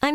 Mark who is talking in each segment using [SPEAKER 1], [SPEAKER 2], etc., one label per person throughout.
[SPEAKER 1] I'm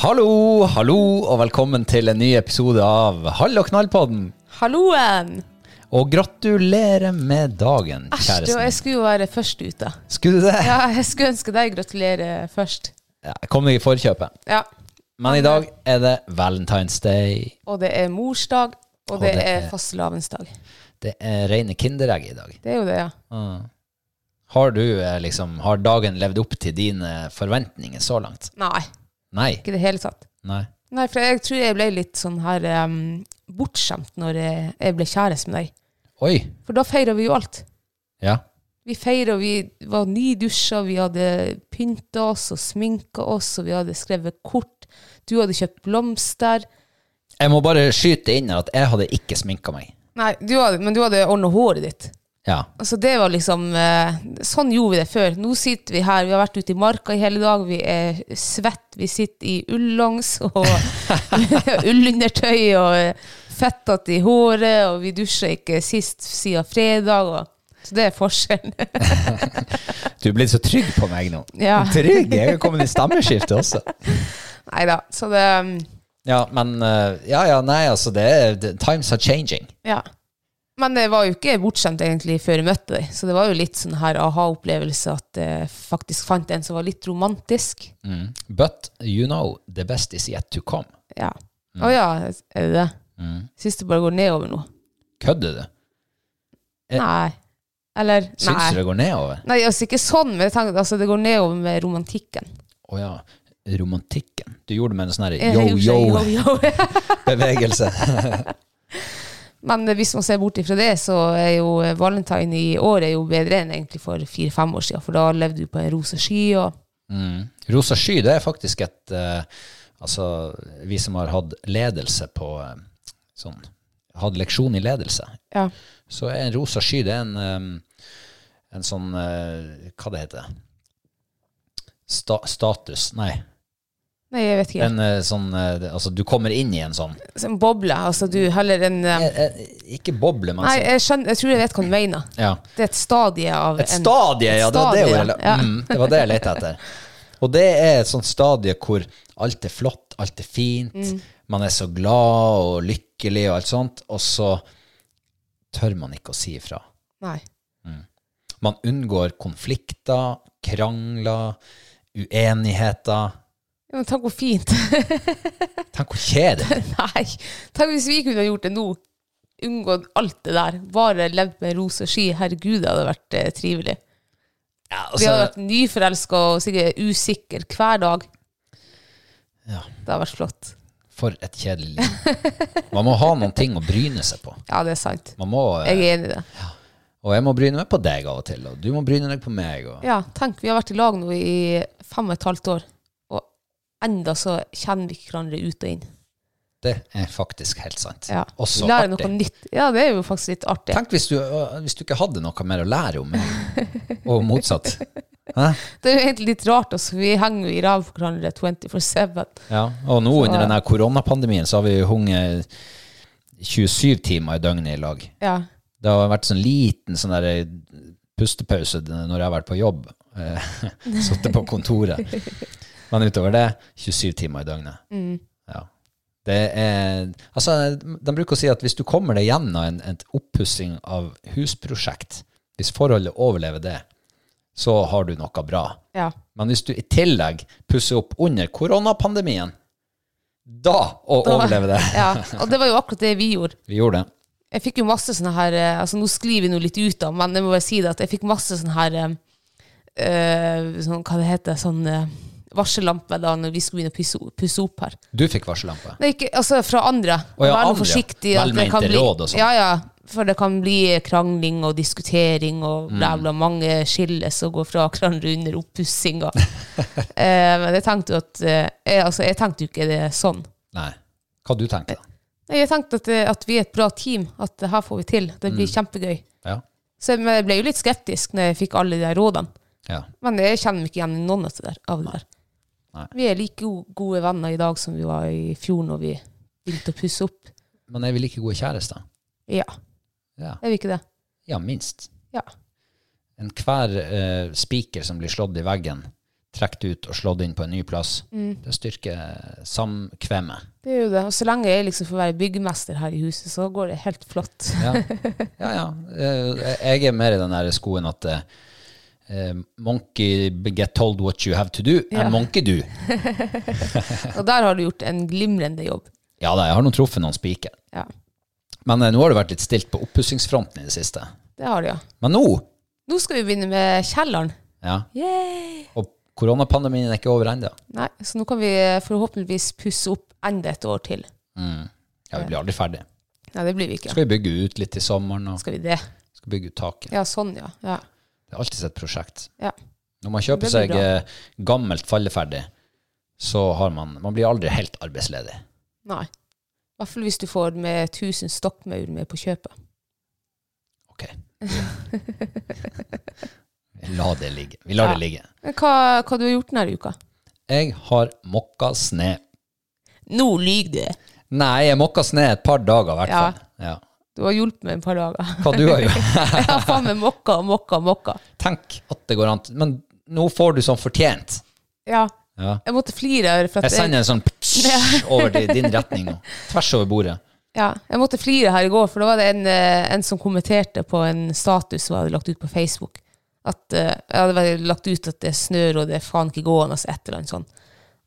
[SPEAKER 2] Hallo, hallo, og velkommen til en ny episode av Hall og knall-podden.
[SPEAKER 3] Halloen!
[SPEAKER 2] Og gratulerer med dagen,
[SPEAKER 3] Æsj, det var- jeg
[SPEAKER 2] kjæresten.
[SPEAKER 3] skulle jo være først ute.
[SPEAKER 2] Skulle du det?
[SPEAKER 3] Ja, jeg skulle ønske deg gratulerer eh, først.
[SPEAKER 2] Ja, Kom deg i forkjøpet.
[SPEAKER 3] Ja.
[SPEAKER 2] Men i dag er det Valentine's Day.
[SPEAKER 3] Og det er morsdag, og,
[SPEAKER 2] Og
[SPEAKER 3] det,
[SPEAKER 2] det
[SPEAKER 3] er
[SPEAKER 2] er-
[SPEAKER 3] fastelavnsdag.
[SPEAKER 2] Det er rene kinderegg i dag.
[SPEAKER 3] Det er jo det, ja.
[SPEAKER 2] Ah. Har du eh, liksom Har dagen levd opp til dine forventninger så langt?
[SPEAKER 3] Nei,
[SPEAKER 2] Nei.
[SPEAKER 3] ikke i det hele tatt.
[SPEAKER 2] Nei.
[SPEAKER 3] Nei, for jeg tror jeg ble litt sånn her em, bortskjemt når jeg, jeg ble kjæreste med deg.
[SPEAKER 2] Oi.
[SPEAKER 3] For da feira vi jo alt.
[SPEAKER 2] Ja.
[SPEAKER 3] Vi feira, vi var nydusja, vi hadde pynta oss og sminka oss, og vi hadde skrevet kort. Du hadde kjøpt blomster.
[SPEAKER 2] Jeg må bare skyte inn at jeg hadde ikke sminka meg.
[SPEAKER 3] Nei, du hadde, men du hadde ordna håret ditt.
[SPEAKER 2] Ja.
[SPEAKER 3] Altså det var liksom eh, Sånn gjorde vi det før. Nå sitter vi her, vi har vært ute i marka i hele dag, vi er svett, vi sitter i ullongs og ullundertøy og eh, fettete i håret, og vi dusja ikke sist siden fredag. Og, så det er forskjellen.
[SPEAKER 2] Du er blitt så trygg på meg nå.
[SPEAKER 3] Ja.
[SPEAKER 2] Trygg? Jeg er kommet i stemmeskiftet også.
[SPEAKER 3] Nei da. Så det mm,
[SPEAKER 2] Ja, men eh, Ja, ja, nei, altså det er det- Times are changing.
[SPEAKER 3] Ja. Men det var jo ikke bortskjemt egentlig før jeg møtte deg, så det var jo litt sånn her aha-opplevelse at jeg faktisk fant en som var litt romantisk.
[SPEAKER 2] But you know, the best is yet to come.
[SPEAKER 3] Ja. Å ja, er det det? Syns det bare går nedover nå.
[SPEAKER 2] Kødder du? Eh,
[SPEAKER 3] Nei. Eller
[SPEAKER 2] Syns
[SPEAKER 3] nei.
[SPEAKER 2] du det går nedover?
[SPEAKER 3] Nei, altså ikke sånn, men jeg tenker, altså, det går nedover med romantikken.
[SPEAKER 2] Å ja. Romantikken. Du gjorde det med en sånn
[SPEAKER 3] Eh, jo,
[SPEAKER 2] yo-yo-bevegelse.
[SPEAKER 3] jo, jo. men eh, hvis man ser bort ifra det, så er jo eh, valentine i år er jo bedre enn egentlig for fire-fem år siden, for da levde du på en rosa sky og
[SPEAKER 2] Mm. Rosa sky, det er faktisk et eh, Altså, vi som har hatt ledelse på eh, sånn Hatt leksjon i ledelse,
[SPEAKER 3] Ja.
[SPEAKER 2] så er en rosa sky det er en, eh, en sånn eh, Hva det heter det? Sta status Nei.
[SPEAKER 3] Nei, jeg vet ikke.
[SPEAKER 2] En eh, sånn eh, det- Altså, du kommer inn i en sånn
[SPEAKER 3] En boble. Altså du heller en eh,
[SPEAKER 2] eh, eh, Ikke boble, men
[SPEAKER 3] Nei,
[SPEAKER 2] sånn
[SPEAKER 3] jeg, skjønner, jeg tror jeg vet hva du mener.
[SPEAKER 2] ja.
[SPEAKER 3] Det er et stadie av
[SPEAKER 2] Et stadie, ja! Det var det,
[SPEAKER 3] stadie,
[SPEAKER 2] ordet jeg-
[SPEAKER 3] ja.
[SPEAKER 2] mm, det var det jeg lette etter. Og det er et sånt stadie hvor alt er flott, alt er fint,
[SPEAKER 3] Mm.
[SPEAKER 2] man er så glad og lykkelig og alt sånt, og så tør man ikke å si ifra.
[SPEAKER 3] Nei.
[SPEAKER 2] Man unngår konflikter, krangler, uenigheter.
[SPEAKER 3] Ja, Men tenk hvor fint.
[SPEAKER 2] Tenk hvor kjedelig.
[SPEAKER 3] Nei. Tenk hvis vi kunne gjort det nå. Unngått alt det der. Bare levd med rosa sky. Herregud, det hadde vært eh, trivelig.
[SPEAKER 2] Ja,
[SPEAKER 3] Vi
[SPEAKER 2] altså,
[SPEAKER 3] hadde vært nyforelska og sikkert usikre hver dag.
[SPEAKER 2] Ja.
[SPEAKER 3] Det hadde vært flott.
[SPEAKER 2] for et kjedelig liv. Man må ha noen ting å bryne seg på.
[SPEAKER 3] Ja, det er sant.
[SPEAKER 2] Man må, eh,
[SPEAKER 3] Jeg er enig i det.
[SPEAKER 2] og jeg må bryne meg på deg av og til, og du må bryne deg på meg. Og,
[SPEAKER 3] Ja, tenk, vi har vært i lag nå i fem og et halvt år, og enda så kjenner vi ikke hverandre ut og inn.
[SPEAKER 2] Det er faktisk helt sant.
[SPEAKER 3] Ja.
[SPEAKER 2] Også
[SPEAKER 3] vi lærer
[SPEAKER 2] artig.
[SPEAKER 3] noe nytt. Ja, det er jo faktisk litt artig.
[SPEAKER 2] Tenk hvis du, øh, hvis du ikke hadde noe mer å lære om meg, og motsatt. Hæ?
[SPEAKER 3] Det er jo egentlig litt rart, altså. Vi henger jo i ræva på hverandre 24-7.
[SPEAKER 2] Ja. Og nå under denne koronapandemien så har vi jo hunget 27 timer i døgnet i lag.
[SPEAKER 3] Ja.
[SPEAKER 2] Det har vært sånn liten sånn der pustepause når jeg har vært på jobb. eh, Sittet på kontoret. Men utover det, 27 timer i døgnet. Ja. Det er, altså, de bruker å si at hvis du kommer deg gjennom en, en oppussing av husprosjekt, hvis forholdet overlever det, så har du noe bra.
[SPEAKER 3] ja.
[SPEAKER 2] Men hvis du i tillegg pusser opp under koronapandemien, da å overleve det.
[SPEAKER 3] ja. Og det var jo akkurat det vi gjorde.
[SPEAKER 2] Vi gjorde det.
[SPEAKER 3] Jeg fikk jo masse sånne her eh, Altså nå skriver vi noe litt ut av, men jeg må bare si det at jeg fikk masse sånne her eh, eh, sånn, Hva det heter Sånn eh, varsellampe da når vi skulle begynne å pusse, pusse opp her.
[SPEAKER 2] Du fikk varsellampe.
[SPEAKER 3] Nei, ikke, altså fra andre.
[SPEAKER 2] Å ja,
[SPEAKER 3] Vær nå
[SPEAKER 2] andre, ja.
[SPEAKER 3] forsiktig. at det kan
[SPEAKER 2] Velmente
[SPEAKER 3] bli-
[SPEAKER 2] råd og sånn. sånt.
[SPEAKER 3] Ja, ja. For det kan bli krangling og diskutering,
[SPEAKER 2] Mm.
[SPEAKER 3] og jævla mange skilles og går fra hverandre under oppussinga. eh, men jeg tenkte jo at eh, jeg, altså, jeg tenkte jo ikke det er sånn.
[SPEAKER 2] Nei. Hva du tenkte du?
[SPEAKER 3] Nei, Jeg tenkte at, det- at vi er et bra team, at det her får vi til. Det
[SPEAKER 2] Mm.
[SPEAKER 3] blir kjempegøy.
[SPEAKER 2] Ja.
[SPEAKER 3] Så jeg, men jeg ble jo litt skeptisk når jeg fikk alle de der rådene.
[SPEAKER 2] Ja.
[SPEAKER 3] Men jeg kjenner meg ikke igjen i noen av det der. Av det der.
[SPEAKER 2] Nei.
[SPEAKER 3] Vi er like go gode venner i dag som vi var i fjor når vi begynte å pusse opp.
[SPEAKER 2] Men er vi like gode kjærester?
[SPEAKER 3] Ja,
[SPEAKER 2] Ja,
[SPEAKER 3] er vi ikke det?
[SPEAKER 2] ja minst.
[SPEAKER 3] Ja.
[SPEAKER 2] Enhver eh, spiker som blir slått i veggen, trukket ut og slått inn på en ny plass,
[SPEAKER 3] Mm.
[SPEAKER 2] det styrker eh, samkvemmet.
[SPEAKER 3] Det er jo det. Og så lenge jeg liksom får være byggmester her i huset, så går det helt flott.
[SPEAKER 2] Ja, ja. ja. Eh, jeg er mer i den der skoen at eh, eh, Monkey get told what you have to do,
[SPEAKER 3] Ja.
[SPEAKER 2] and monkey do.
[SPEAKER 3] Og der har du gjort en glimrende jobb.
[SPEAKER 2] Ja da, jeg har nå truffet noen spiker.
[SPEAKER 3] Ja,
[SPEAKER 2] Men eh, nå har det vært litt stilt på oppussingsfronten i det siste.
[SPEAKER 3] det har du, ja.
[SPEAKER 2] Men nå,
[SPEAKER 3] Nå skal vi begynne med kjelleren.
[SPEAKER 2] ja,
[SPEAKER 3] Yay!
[SPEAKER 2] og koronapandemien er ikke over ennå.
[SPEAKER 3] Nei, så nå kan vi eh, forhåpentligvis pusse opp enda et år til.
[SPEAKER 2] Ja, vi blir aldri ferdig.
[SPEAKER 3] Nei, det blir vi ikke.
[SPEAKER 2] Skal vi bygge ut litt i sommeren, og
[SPEAKER 3] Skal vi det?
[SPEAKER 2] skal bygge ut taket.
[SPEAKER 3] Ja, sånn, ja. Ja.
[SPEAKER 2] Det er alltid et prosjekt.
[SPEAKER 3] ja.
[SPEAKER 2] Når man kjøper
[SPEAKER 3] Det blir
[SPEAKER 2] seg
[SPEAKER 3] bra.
[SPEAKER 2] eh, gammelt falleferdig, så har man Man blir aldri helt arbeidsledig.
[SPEAKER 3] Nei. I hvert fall hvis du får med 1000 stokkmaur med på kjøpet.
[SPEAKER 2] Ok. La det ligge. Vi lar
[SPEAKER 3] Ja.
[SPEAKER 2] det ligge.
[SPEAKER 3] Men hva, hva du har gjort denne uka?
[SPEAKER 2] Jeg har mokka snø.
[SPEAKER 3] Nå lyver du!
[SPEAKER 2] Nei, jeg mokka snø et par dager, i hvert
[SPEAKER 3] Ja.
[SPEAKER 2] fall. Ja.
[SPEAKER 3] Du har hjulpet meg et par dager.
[SPEAKER 2] Hva du har gjort?
[SPEAKER 3] Jeg har faen meg mokka og mokka og mokka.
[SPEAKER 2] Tenk at det går an. Men nå får du sånn fortjent.
[SPEAKER 3] Ja.
[SPEAKER 2] Ja.
[SPEAKER 3] Jeg måtte flire her for at
[SPEAKER 2] Jeg
[SPEAKER 3] jeg,
[SPEAKER 2] sender en sånn over til din retning nå. Tvers over bordet.
[SPEAKER 3] ja, jeg måtte flire her i går, for da var det en, eh, en som kommenterte på en status som jeg hadde lagt ut på Facebook. At eh, jeg hadde vel lagt ut at det snør, og det er faen ikke gående, altså et eller annet sånt.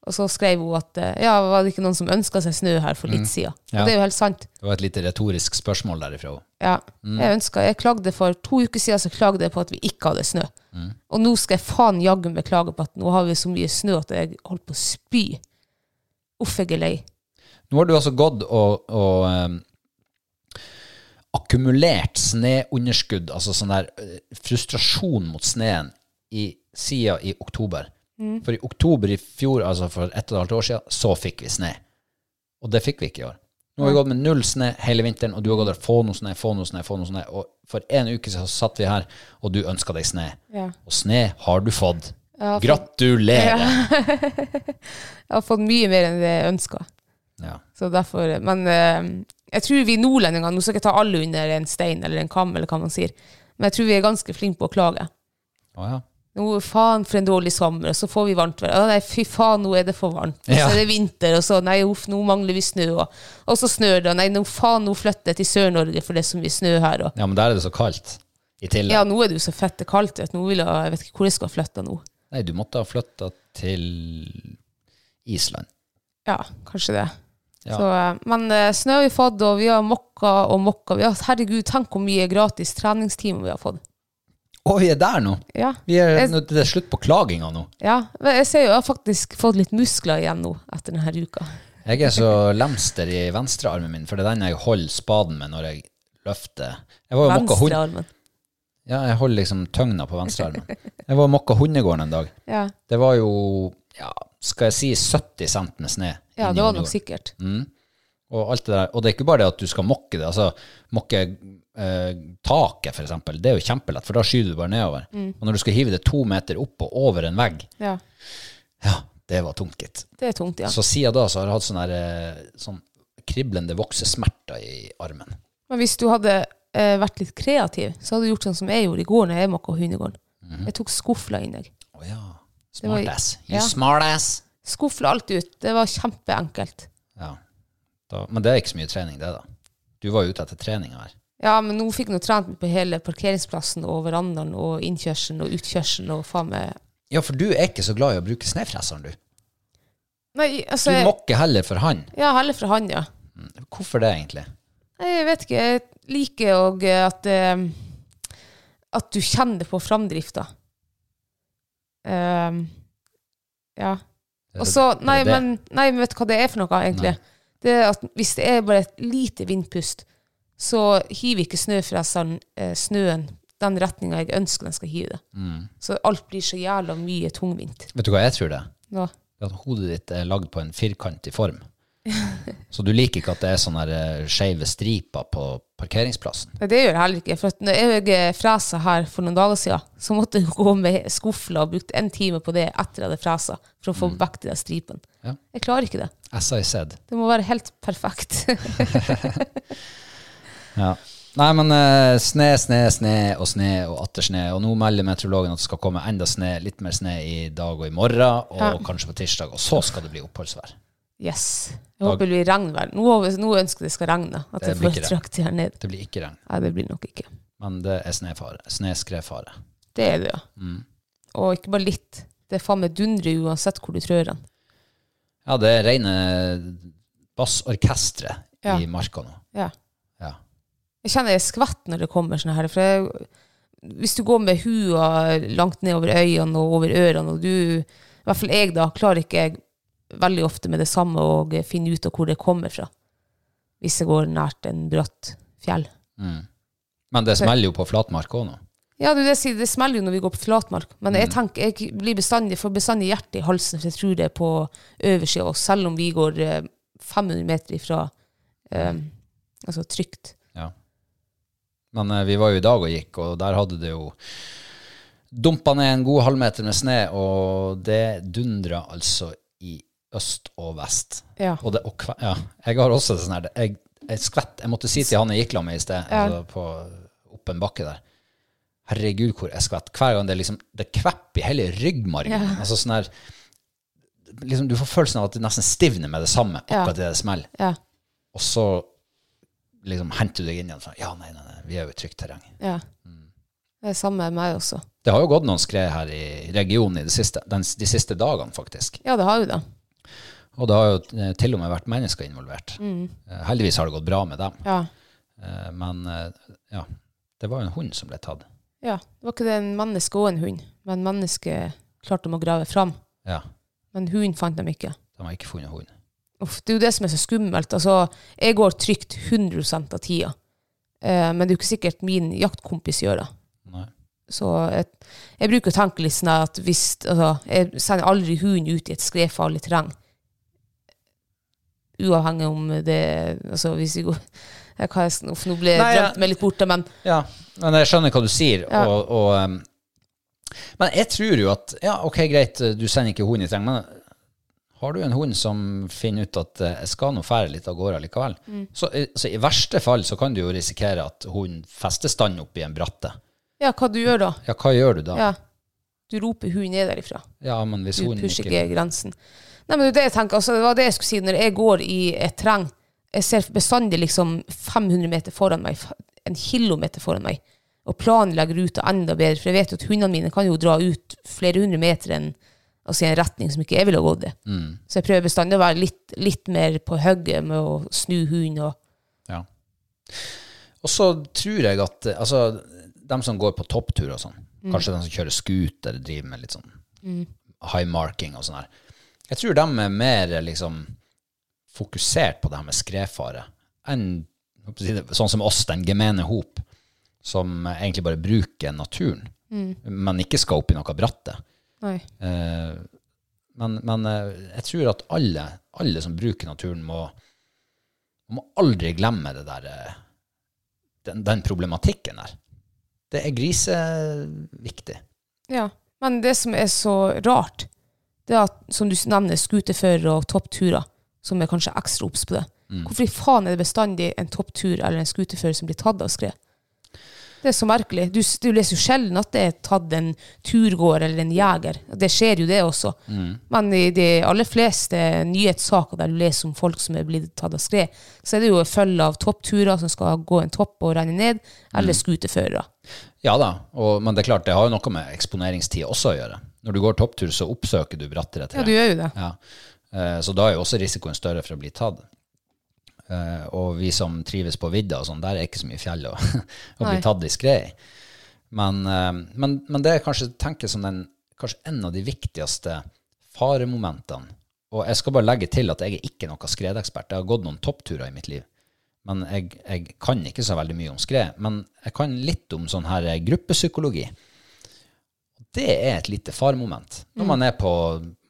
[SPEAKER 3] Og så skrev hun at eh, ja, var det ikke noen som ønska seg snø her for litt siden? Og
[SPEAKER 2] Ja.
[SPEAKER 3] det er jo helt sant.
[SPEAKER 2] Det var et lite retorisk spørsmål derifra.
[SPEAKER 3] Ja. Jeg ønsker, jeg klagde for to uker siden så klagde jeg på at vi ikke hadde snø. Og nå skal jeg faen jaggu meg klage på at nå har vi så mye snø at jeg holdt på å spy. Uff, jeg er lei.
[SPEAKER 2] Nå har du altså gått og, og ehm, akkumulert sneunderskudd, altså sånn der eh, frustrasjon mot sneen, i sida i oktober. For i oktober i fjor, altså for ett og et halvt år siden, så fikk vi sne. Og det fikk vi ikke i år. Nå har vi gått med null snø hele vinteren, og du har gått der få noe snø, få noe snø, få noe snø. Og for en uke siden så satt vi her, og du ønska deg snø.
[SPEAKER 3] Ja.
[SPEAKER 2] Og snø har du fått. Gratulerer!
[SPEAKER 3] Jeg har fått mye mer enn det jeg ønska.
[SPEAKER 2] Ja.
[SPEAKER 3] Så derfor Men eh, jeg tror vi nordlendinger Nå skal jeg ikke ta alle under en stein eller en kam, eller hva man sier, men jeg tror vi er ganske flinke på å klage.
[SPEAKER 2] Å ja.
[SPEAKER 3] Nå, faen for en dårlig sommer, og så får vi varmt vær. Å nei, fy faen, nå er det for varmt. Og
[SPEAKER 2] Ja.
[SPEAKER 3] så er det vinter, og så nei, uff, nå mangler vi snø. Og, og så snør det, og nei, nå faen, nå flytter jeg til Sør-Norge for det er så mye snø her. Og.
[SPEAKER 2] ja, men der er det så kaldt. I tillegg.
[SPEAKER 3] Ja, nå er det jo så fette kaldt at nå vil jeg, jeg vet ikke hvor jeg skal flytte nå.
[SPEAKER 2] Nei, du måtte ha flytta til Island.
[SPEAKER 3] Ja, kanskje det.
[SPEAKER 2] Ja.
[SPEAKER 3] Så, eh, men eh, snø har vi fått, og vi har mokka og mokka. Vi har, herregud, tenk hvor mye gratis treningstimer vi har fått.
[SPEAKER 2] Å, vi er der nå!
[SPEAKER 3] Ja.
[SPEAKER 2] Vi er,
[SPEAKER 3] Jeg-
[SPEAKER 2] nå- det er slutt på klaginga nå.
[SPEAKER 3] Ja, men jeg ser jo jeg har faktisk fått litt muskler igjen nå etter denne uka.
[SPEAKER 2] Jeg er så lemster i venstrearmen min, for det er den jeg holder spaden med når jeg løfter. Jeg var jo mokka hund...
[SPEAKER 3] Venstrearmen.
[SPEAKER 2] Ja, jeg holder liksom tøgna på venstrearmen. Jeg var og mokka hundegården en dag.
[SPEAKER 3] Ja.
[SPEAKER 2] Det var jo, ja, skal jeg si 70 cent med snø.
[SPEAKER 3] ja,
[SPEAKER 2] inni
[SPEAKER 3] det var
[SPEAKER 2] hundegården.
[SPEAKER 3] nok sikkert.
[SPEAKER 2] Og alt det der. Og det er ikke bare det at du skal mokke det. altså Mokke eh, taket, for eksempel. Det er jo kjempelett, for da skyter du bare nedover.
[SPEAKER 3] Mm.
[SPEAKER 2] Og når du skal hive det to meter opp og over en vegg,
[SPEAKER 3] Ja,
[SPEAKER 2] ja, det var tungt, gitt.
[SPEAKER 3] Det er tungt, ja.
[SPEAKER 2] Så siden da så har jeg hatt sånne, der, eh, sånn kriblende voksesmerter i armen.
[SPEAKER 3] Men hvis du hadde eh, vært litt kreativ, så hadde du gjort sånn som jeg gjorde i går når jeg mokka hundegården.
[SPEAKER 2] Mhm.
[SPEAKER 3] Jeg tok skuffla inn. jeg.
[SPEAKER 2] Å ja.
[SPEAKER 3] Det var-
[SPEAKER 2] Smartass. You
[SPEAKER 3] ja.
[SPEAKER 2] smartass!
[SPEAKER 3] Skuffla alt ut. Det var kjempeenkelt.
[SPEAKER 2] Ja. Da, men det er ikke så mye trening, det, da. Du var jo ute etter trening her.
[SPEAKER 3] Ja, men nå fikk jeg nå trent meg på hele parkeringsplassen og verandaen og innkjørselen og utkjørselen og faen meg
[SPEAKER 2] Ja, for du er ikke så glad i å bruke snøfresseren, du.
[SPEAKER 3] Nei, altså
[SPEAKER 2] Du
[SPEAKER 3] jeg-
[SPEAKER 2] mokker heller for han.
[SPEAKER 3] Ja, heller fra han, ja.
[SPEAKER 2] Hvorfor det, egentlig?
[SPEAKER 3] Jeg vet ikke. Jeg liker òg at, eh, at du kjenner på framdrifta. Ehm, ja.
[SPEAKER 2] Er
[SPEAKER 3] Og
[SPEAKER 2] det-
[SPEAKER 3] så
[SPEAKER 2] er det
[SPEAKER 3] nei
[SPEAKER 2] det?
[SPEAKER 3] men, nei, men vet du hva det er for noe, egentlig?
[SPEAKER 2] Nei.
[SPEAKER 3] Det er at hvis det er bare et lite vindpust, så hiver ikke snøfreseren eh, snøen den retninga jeg ønsker den skal hive det.
[SPEAKER 2] Mm.
[SPEAKER 3] Så alt blir så jævla mye tungvint.
[SPEAKER 2] Vet du hva jeg tror det er?
[SPEAKER 3] Nå.
[SPEAKER 2] Det er At hodet ditt er lagd på en firkantig form. Så du liker ikke at det er sånne her, eh, skeive striper på parkeringsplassen.
[SPEAKER 3] Nei, det gjør jeg heller ikke. For at når jeg fresa her for noen dager siden, så måtte jeg gå med skuffla og brukt en time på det etter jeg hadde fresa, for å få vekk de der stripene.
[SPEAKER 2] Mm. Ja.
[SPEAKER 3] Jeg klarer ikke det.
[SPEAKER 2] As I said.
[SPEAKER 3] Det må være helt perfekt.
[SPEAKER 2] Ja. Nei, men eh, sne, sne, sne og sne og atter sne. Og nå melder meteorologen at det skal komme enda sne, litt mer sne i dag og i morgen, og
[SPEAKER 3] Ja.
[SPEAKER 2] kanskje på tirsdag. Og så skal det bli oppholdsvær.
[SPEAKER 3] yes. Jeg håper det blir regnvær. Nå, håper- nå ønsker jeg det skal regne. At
[SPEAKER 2] Det
[SPEAKER 3] jeg
[SPEAKER 2] blir
[SPEAKER 3] får
[SPEAKER 2] ikke det.
[SPEAKER 3] trakt her ned.
[SPEAKER 2] Det blir ikke regn,
[SPEAKER 3] Nei, det blir nok ikke.
[SPEAKER 2] men det er snefare. Sneskredfare.
[SPEAKER 3] Det er det, ja.
[SPEAKER 2] Mm.
[SPEAKER 3] Og ikke bare litt. Det er faen meg dundre uansett hvor du trør den.
[SPEAKER 2] Ja, det er rene bassorkesteret
[SPEAKER 3] Ja.
[SPEAKER 2] i marka nå.
[SPEAKER 3] Ja.
[SPEAKER 2] Ja.
[SPEAKER 3] Jeg kjenner jeg skvetter når det kommer sånne her. For jeg, hvis du går med hua langt ned over øynene og over ørene, og du, i hvert fall jeg da, klarer ikke jeg veldig ofte med det samme å finne ut av hvor det kommer fra. Hvis jeg går nært en bratt fjell.
[SPEAKER 2] Men det smeller jo på flatmark òg nå.
[SPEAKER 3] Ja, du, det, sier, det smeller jo når vi går på flatmark, men jeg tenker, jeg blir bestandig, får bestandig hjertet i halsen, for jeg tror det er på øversida av oss, selv om vi går eh, 500 meter ifra eh, altså trygt.
[SPEAKER 2] Ja. Men eh, vi var jo i dag og gikk, og der hadde det jo dumpa ned en god halvmeter med snø, og det dundra altså i øst og vest.
[SPEAKER 3] Ja.
[SPEAKER 2] Og det, og, kve- ja, jeg har også sånn her jeg, jeg skvett. Jeg måtte si til han jeg gikk sammen med i sted,
[SPEAKER 3] Ja.
[SPEAKER 2] altså på, opp en bakke der Herregud, hvor jeg skvett. Hver gang det liksom Det kvepper i hele ryggmargen. Altså sånn her liksom, Du får følelsen av at det nesten stivner med det samme,
[SPEAKER 3] Ja.
[SPEAKER 2] akkurat idet det smeller.
[SPEAKER 3] Ja,
[SPEAKER 2] Og så liksom henter du deg inn igjen. sånn, Ja, nei, nei, nei, vi er jo i trygt terreng.
[SPEAKER 3] ja. Det er samme med meg også.
[SPEAKER 2] Det har jo gått noen skred her i regionen i det siste, den, de siste dagene, faktisk.
[SPEAKER 3] Ja, det har jo det.
[SPEAKER 2] Og det har jo eh, til og med vært mennesker involvert. Eh, Heldigvis har det gått bra med dem.
[SPEAKER 3] Ja.
[SPEAKER 2] Eh, Men eh, ja, det var jo en hund som ble tatt.
[SPEAKER 3] ja. Det var ikke det en menneske og en hund, men mennesket klarte de å grave fram.
[SPEAKER 2] Ja,
[SPEAKER 3] Men hunden fant dem ikke.
[SPEAKER 2] de har ikke funnet hund.
[SPEAKER 3] Uff, det er jo det som er så skummelt. Altså, jeg går trygt 100 av tida, eh, men det er jo ikke sikkert min jaktkompis gjør det.
[SPEAKER 2] Nei.
[SPEAKER 3] Så jeg, jeg bruker å tenke litt sånn her at hvis altså, Jeg sender aldri hunden ut i et skredfarlig terreng. Uavhengig om det Altså, hvis vi går jeg kan, Uff, nå ble jeg
[SPEAKER 2] Nei, ja.
[SPEAKER 3] drømt meg litt borte, men
[SPEAKER 2] Ja, men jeg skjønner hva du sier.
[SPEAKER 3] Ja.
[SPEAKER 2] Og, og, ehm, men jeg tror jo at Ja, ok, greit, du sender ikke hunden i terreng, men har du en hund som finner ut at eh, jeg skal nå fære litt av gårde likevel,
[SPEAKER 3] Mm.
[SPEAKER 2] så, i- så i verste fall så kan du jo risikere at hunden fester stand opp i en bratte.
[SPEAKER 3] ja, hva du gjør da?
[SPEAKER 2] Ja, hva gjør du da?
[SPEAKER 3] Ja. Du roper 'hun er derifra'.
[SPEAKER 2] Ja, men hvis
[SPEAKER 3] Du
[SPEAKER 2] hunden
[SPEAKER 3] pusher
[SPEAKER 2] ikke
[SPEAKER 3] ikke grensen. Nei, men det er det jeg tenker, altså, det var det jeg skulle si når jeg går i et terreng. Jeg ser bestandig liksom 500 meter foran meg, fa- en kilometer foran meg, og planlegger ruta enda bedre, for jeg vet jo at hundene mine kan jo dra ut flere hundre meter enn altså i en retning som ikke jeg ville gått i. Så jeg prøver bestandig å være litt, litt mer på hugget med å snu hunden og
[SPEAKER 2] Ja. Og så tror jeg at eh, altså, dem som går på topptur og sånn, Kanskje de som kjører scooter, driver med litt sånn high marking og sånn her. Jeg tror de er mer liksom fokusert på det her med skredfare enn jeg holdt på å si det, sånn som oss, den gemene hop, som egentlig bare bruker naturen, men ikke skal opp i noe bratte.
[SPEAKER 3] Nei.
[SPEAKER 2] Eh, men men eh, jeg tror at alle, alle som bruker naturen, må, må aldri glemme det der, eh, den, den problematikken der. Det er griseviktig.
[SPEAKER 3] Ja. Men det som er så rart, det er at, som du nevner, scooterførere og toppturer, som er kanskje ekstra obs på det. Hvorfor i faen er det bestandig en topptur eller en scooterfører som blir tatt av skred? Det er så merkelig. Du, s- du leser jo sjelden at det er tatt en turgåer eller en jeger. Det skjer jo, det også. Men i de aller fleste nyhetssaker der du leser om folk som er blitt tatt av skred, så er det jo en følge av toppturer som skal gå en topp og renne ned, eller scooterførere.
[SPEAKER 2] Ja da, og, men det er klart, det har jo noe med eksponeringstid også å gjøre. Når du går topptur, så oppsøker du brattere
[SPEAKER 3] Ja,
[SPEAKER 2] terreng.
[SPEAKER 3] du gjør jo det.
[SPEAKER 2] Ja. Eh, Så da er jo også risikoen større for å bli tatt. Eh, Og vi som trives på vidda og sånn, der er ikke så mye fjell å, å
[SPEAKER 3] Nei.
[SPEAKER 2] bli tatt i skred i. Men, eh, men, men det er kanskje tenker som den, kanskje en av de viktigste faremomentene. Og jeg skal bare legge til at jeg er ikke noen skredekspert. Jeg har gått noen toppturer i mitt liv. Men jeg, jeg kan ikke så veldig mye om skred. Men jeg kan litt om sånn her eh, gruppepsykologi det er et lite faremoment. Når man er på,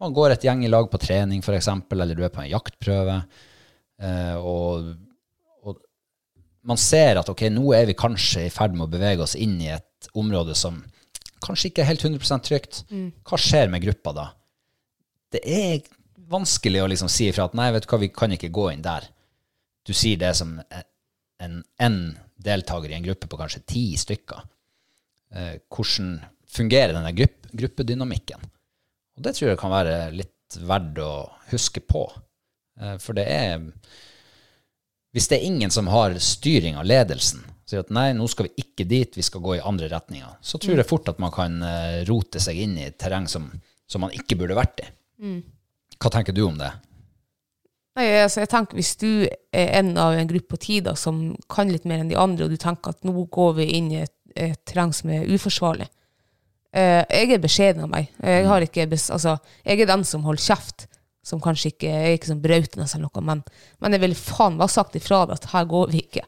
[SPEAKER 2] man går et gjeng i lag på trening for eksempel, eller du er på en jaktprøve, eh, og, og man ser at ok, nå er vi kanskje i ferd med å bevege oss inn i et område som kanskje ikke er helt 100% trygt. Hva skjer med gruppa da? Det er vanskelig å liksom si ifra at nei, vet du hva, vi kan ikke gå inn der. Du sier det som en, en deltaker i en gruppe på kanskje ti stykker eh, hvordan fungerer denne grupp, gruppedynamikken. Og det tror jeg kan være litt verdt å huske på. Eh, for det er Hvis det er ingen som har styring av ledelsen, sier at nei, nå skal vi ikke dit, vi skal gå i andre retninger, så tror jeg fort at man kan eh, rote seg inn i et terreng som, som man ikke burde vært i. Hva tenker du om det?
[SPEAKER 3] Nei, altså jeg tenker Hvis du er en av en gruppe på ti da, som kan litt mer enn de andre, og du tenker at nå går vi inn i et, et terreng som er uforsvarlig eh, Jeg er beskjeden av meg. Jeg, har ikke bes altså, jeg er den som holder kjeft. Som kanskje ikke jeg er ikke sånn brautende eller noe, men, men jeg ville faen meg ha sagt ifra deg at her går vi ikke.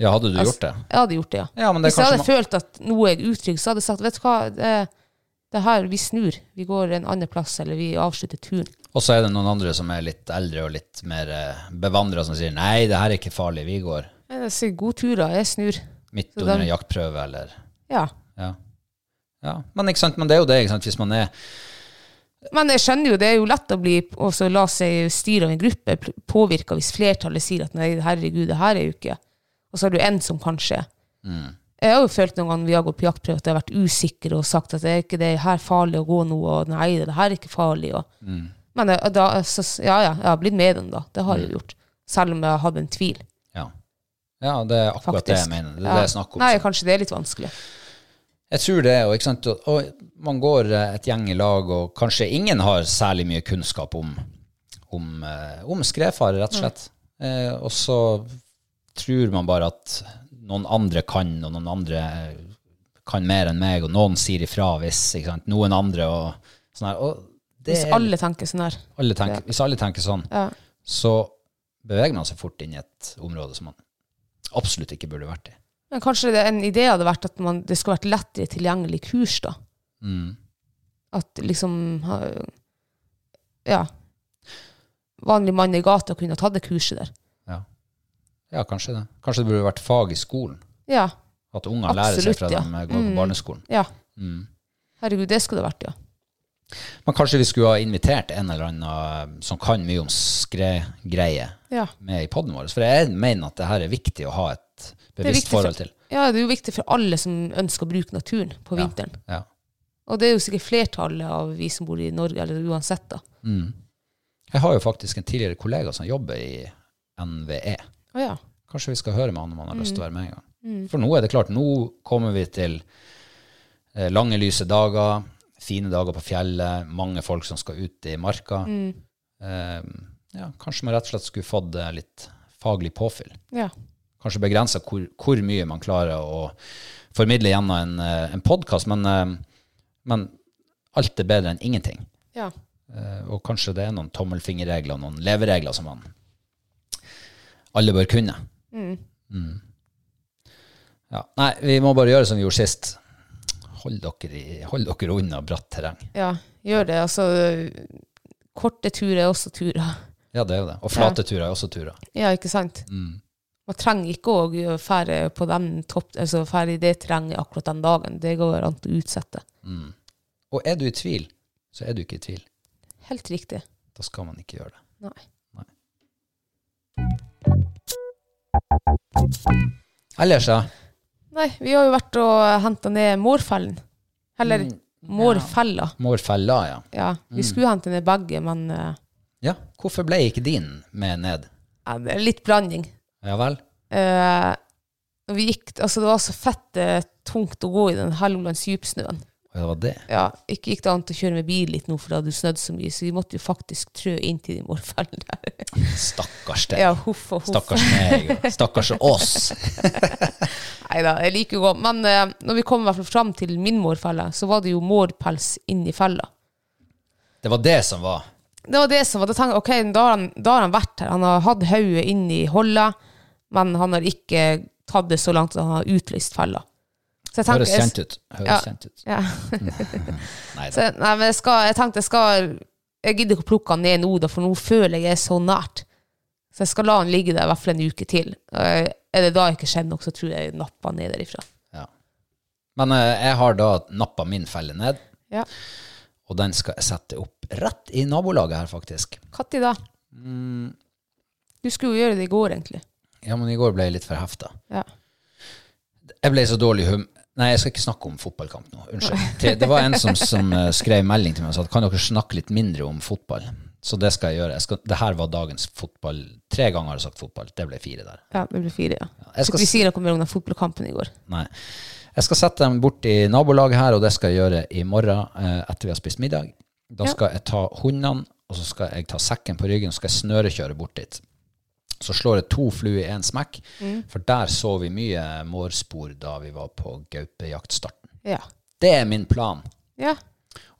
[SPEAKER 2] Ja, hadde du
[SPEAKER 3] Altså,
[SPEAKER 2] gjort det?
[SPEAKER 3] Jeg hadde gjort det, ja.
[SPEAKER 2] Ja, men det er
[SPEAKER 3] Hvis jeg hadde
[SPEAKER 2] kanskje
[SPEAKER 3] følt at nå er jeg utrygg, så hadde jeg sagt vet du hva, det, det her, vi snur. Vi går en annen plass, eller vi avslutter turen.
[SPEAKER 2] Og så er det noen andre som er litt eldre og litt mer eh, bevandra, som sier nei, det her er ikke farlig, vi går
[SPEAKER 3] Men Jeg sier god tur, da. Jeg snur.
[SPEAKER 2] midt
[SPEAKER 3] Så
[SPEAKER 2] under
[SPEAKER 3] dem-
[SPEAKER 2] en jaktprøve, eller
[SPEAKER 3] Ja.
[SPEAKER 2] Ja. ja. Men, ikke sant? Men det er jo det, ikke sant? hvis man er
[SPEAKER 3] Men jeg skjønner jo, det er jo lett å bli også la seg styre av en gruppe påvirka hvis flertallet sier at nei, herregud, det her er jo ikke Og så har du en som kanskje
[SPEAKER 2] Mm.
[SPEAKER 3] Jeg har jo følt noen ganger vi har gått på jaktprøve at jeg har vært usikker og sagt at det er ikke det her farlig å gå nå, og nei, det her er ikke farlig. Og.
[SPEAKER 2] Mm.
[SPEAKER 3] Men jeg- da, så, ja, ja, jeg har blitt med den, da. Det har
[SPEAKER 2] Mm.
[SPEAKER 3] jeg jo gjort. Selv om jeg hadde en tvil,
[SPEAKER 2] Ja, ja det er akkurat
[SPEAKER 3] faktisk.
[SPEAKER 2] det jeg mener. Det er det jeg snakker om.
[SPEAKER 3] Nei,
[SPEAKER 2] sånn.
[SPEAKER 3] kanskje det er litt vanskelig.
[SPEAKER 2] Jeg tror det, og, ikke sant? og- og man går eh, et gjeng i lag, og kanskje ingen har særlig mye kunnskap om, om, eh, om skredfare, rett og slett.
[SPEAKER 3] Mm.
[SPEAKER 2] Eh, og så tror man bare at noen andre kan, og noen andre eh, kan mer enn meg, og noen sier ifra hvis ikke sant? noen andre og sånn her. Og det
[SPEAKER 3] Hvis
[SPEAKER 2] er-
[SPEAKER 3] alle tenker sånn her.
[SPEAKER 2] alle tenker, Hvis alle tenker sånn,
[SPEAKER 3] Ja.
[SPEAKER 2] så beveger man seg fort inn i et område som man absolutt ikke burde vært i.
[SPEAKER 3] Men kanskje det, en idé hadde vært at man, det skulle vært lettere tilgjengelig kurs, da.
[SPEAKER 2] Mm.
[SPEAKER 3] At liksom ha- Ja. Vanlig mann i gata kunne ha tatt det kurset der.
[SPEAKER 2] Ja. ja, kanskje det. Kanskje det burde vært fag i skolen.
[SPEAKER 3] Ja.
[SPEAKER 2] At unger lærer seg
[SPEAKER 3] Absolutt,
[SPEAKER 2] fra
[SPEAKER 3] ja. Mm.
[SPEAKER 2] de går på barneskolen. Mm.
[SPEAKER 3] ja. Herregud, det skulle det vært, ja.
[SPEAKER 2] Men kanskje vi skulle ha invitert en eller annen eh, som kan mye om skredgreier,
[SPEAKER 3] Ja.
[SPEAKER 2] med i poden vår. For jeg mener at det her er viktig å ha et
[SPEAKER 3] er
[SPEAKER 2] bevisst
[SPEAKER 3] viktig for-
[SPEAKER 2] forhold til.
[SPEAKER 3] ja. Det er jo viktig for alle som ønsker å bruke naturen på
[SPEAKER 2] Ja.
[SPEAKER 3] vinteren.
[SPEAKER 2] Ja.
[SPEAKER 3] Og det er jo sikkert flertallet av vi som bor i Norge, eller uansett, da.
[SPEAKER 2] Mm. Jeg har jo faktisk en tidligere kollega som jobber i E. NVE.
[SPEAKER 3] Å ja.
[SPEAKER 2] Kanskje vi skal høre med han om han har lyst til å være med en gang. For nå er det klart, nå kommer vi til eh, lange, lyse dager, fine dager på fjellet, mange folk som skal ut i marka. Eh, ja, kanskje man rett og slett skulle fått eh, litt faglig påfyll.
[SPEAKER 3] ja.
[SPEAKER 2] Kanskje begrensa hvor, hvor mye man klarer å formidle gjennom en, eh, en podkast, men, eh, men alt er bedre enn ingenting.
[SPEAKER 3] Ja.
[SPEAKER 2] Eh, Og kanskje det er noen tommelfingerregler og noen leveregler som man alle bør kunne. Mm. Ja. Nei, vi må bare gjøre som vi gjorde sist. Hold dere, i, hold dere unna bratt terreng.
[SPEAKER 3] ja, gjør det. Altså, korte turer er også turer.
[SPEAKER 2] Ja, det er jo det. Og flate turer er også turer.
[SPEAKER 3] Ja, ikke sant? Man trenger ikke å fære på den topp, altså fære i det terrenget akkurat den dagen. Det går an å utsette.
[SPEAKER 2] Og er du i tvil, så er du ikke i tvil.
[SPEAKER 3] Helt riktig.
[SPEAKER 2] Da skal man ikke gjøre det.
[SPEAKER 3] Nei.
[SPEAKER 2] Ellers, ja.
[SPEAKER 3] Nei, vi har jo vært og henta ned mårfellen. Eller mårfella.
[SPEAKER 2] Mårfella, ja.
[SPEAKER 3] Ja, vi skulle hente ned begge, men eh,
[SPEAKER 2] Ja, hvorfor ble ikke din med ned?
[SPEAKER 3] ja, det er litt blanding.
[SPEAKER 2] Ja vel?
[SPEAKER 3] Eh, når vi gikk, altså det var så fett eh, tungt å gå i den Helgolands dypsnøen.
[SPEAKER 2] Og det var det.
[SPEAKER 3] Ja, ikke gikk det an til å kjøre med bil litt nå, for da hadde du snødd så mye, så vi måtte jo faktisk trø inn til de morfellene der.
[SPEAKER 2] Stakkars deg.
[SPEAKER 3] Ja, huff og huff.
[SPEAKER 2] Stakkars meg. og Stakkars oss.
[SPEAKER 3] Neida, jeg liker jo godt. Men eh, når vi kom i hvert fall fram til min morfelle, så var det jo mårpels inni fella.
[SPEAKER 2] Det var det som var.
[SPEAKER 3] Det var det som var, da tenkte jeg, ok, da har, han, da har han vært her. Han har hatt hauet inni holdet, men han har ikke tatt det så langt at han har utløst fella. Så jeg tenker-
[SPEAKER 2] Høres kjent ut. Høres
[SPEAKER 3] Ja.
[SPEAKER 2] kjent ut.
[SPEAKER 3] Ja.
[SPEAKER 2] Nei da.
[SPEAKER 3] Så, nei, men jeg, skal, jeg tenkte jeg skal Jeg gidder ikke å plukke han ned nå, da, for nå føler jeg jeg er så nært. Så jeg skal la han ligge der i hvert fall en uke til. Eh, Er det da jeg ikke skjønner nok, så tror jeg jeg napper han ned derifra.
[SPEAKER 2] Ja. Men eh, jeg har da nappa min felle ned,
[SPEAKER 3] Ja.
[SPEAKER 2] og den skal jeg sette opp rett i nabolaget her, faktisk.
[SPEAKER 3] Når da?
[SPEAKER 2] Mm.
[SPEAKER 3] Du skulle jo gjøre det i går, egentlig.
[SPEAKER 2] Ja, men i går ble jeg litt for hefta.
[SPEAKER 3] Ja.
[SPEAKER 2] Jeg ble så dårlig hum... Nei, jeg skal ikke snakke om fotballkamp nå. Unnskyld. Det, det var en som, som eh, skrev melding til meg og sa at kan dere snakke litt mindre om fotball? Så det skal jeg gjøre. Jeg skal, det her var dagens fotball. Tre ganger har jeg sagt fotball. Det ble fire der.
[SPEAKER 3] ja det blir fire, ja.
[SPEAKER 2] Jeg skal
[SPEAKER 3] Vi sier noe mer om den fotballkampen i går.
[SPEAKER 2] Nei. Jeg skal sette dem bort i nabolaget her, og det skal jeg gjøre i morgen eh, etter vi har spist middag. Da
[SPEAKER 3] Ja.
[SPEAKER 2] skal jeg ta hundene, og så skal jeg ta sekken på ryggen, og så skal jeg snørekjøre bort dit. Så slår jeg to fluer i én smekk,
[SPEAKER 3] Mm.
[SPEAKER 2] for der så vi mye mårspor da vi var på gaupejaktstarten.
[SPEAKER 3] Ja.
[SPEAKER 2] Det er min plan.
[SPEAKER 3] ja.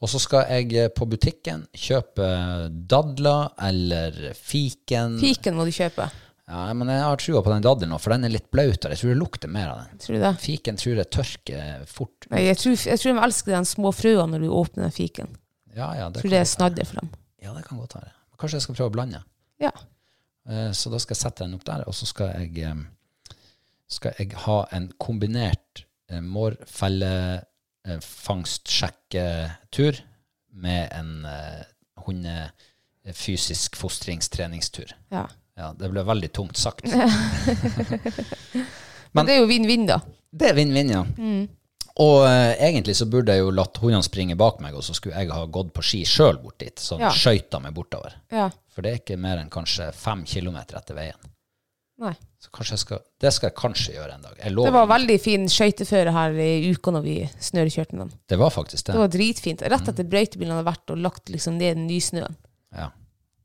[SPEAKER 2] Og så skal jeg eh, på butikken kjøpe eh, dadler eller fiken.
[SPEAKER 3] Piken må du kjøpe.
[SPEAKER 2] Ja, men jeg har trua på den dadelen nå, for den er litt blautere. Jeg tror det lukter mer av den.
[SPEAKER 3] Tror du det?
[SPEAKER 2] Fiken tror jeg tørker eh, fort.
[SPEAKER 3] Nei, jeg, tror, jeg tror de elsker de små frøene når du åpner den fiken.
[SPEAKER 2] Ja, ja, det kan,
[SPEAKER 3] Tror det er
[SPEAKER 2] godt være.
[SPEAKER 3] snadder for dem.
[SPEAKER 2] ja, det kan godt være. Kanskje jeg skal prøve å blande.
[SPEAKER 3] Ja.
[SPEAKER 2] Eh, Så da skal jeg sette den opp der, og så skal jeg, eh, skal jeg ha en kombinert eh, mårfelle eh, fangstsjekketur med en eh, hunde eh, fysisk fostringstreningstur.
[SPEAKER 3] ja.
[SPEAKER 2] Ja, det ble veldig tungt sagt.
[SPEAKER 3] Men det er jo vinn-vinn, da.
[SPEAKER 2] Det er vinn-vinn, ja.
[SPEAKER 3] Mm.
[SPEAKER 2] Og eh, egentlig så burde jeg jo latt hundene springe bak meg, og så skulle jeg ha gått på ski sjøl bort dit, så
[SPEAKER 3] Ja.
[SPEAKER 2] ja. skøyta meg bortover.
[SPEAKER 3] Ja.
[SPEAKER 2] For det er ikke mer enn kanskje fem kilometer etter veien.
[SPEAKER 3] Nei.
[SPEAKER 2] Så kanskje jeg skal, det skal jeg kanskje gjøre en dag. Jeg
[SPEAKER 3] Det
[SPEAKER 2] lover.
[SPEAKER 3] var veldig fin skøyteføre her i uka når vi snørekjørte med dem.
[SPEAKER 2] det var faktisk det.
[SPEAKER 3] Det var dritfint. Rett etter
[SPEAKER 2] Mm.
[SPEAKER 3] brøytebilen hadde vært og lagt liksom ned den nysnøen.
[SPEAKER 2] Ja.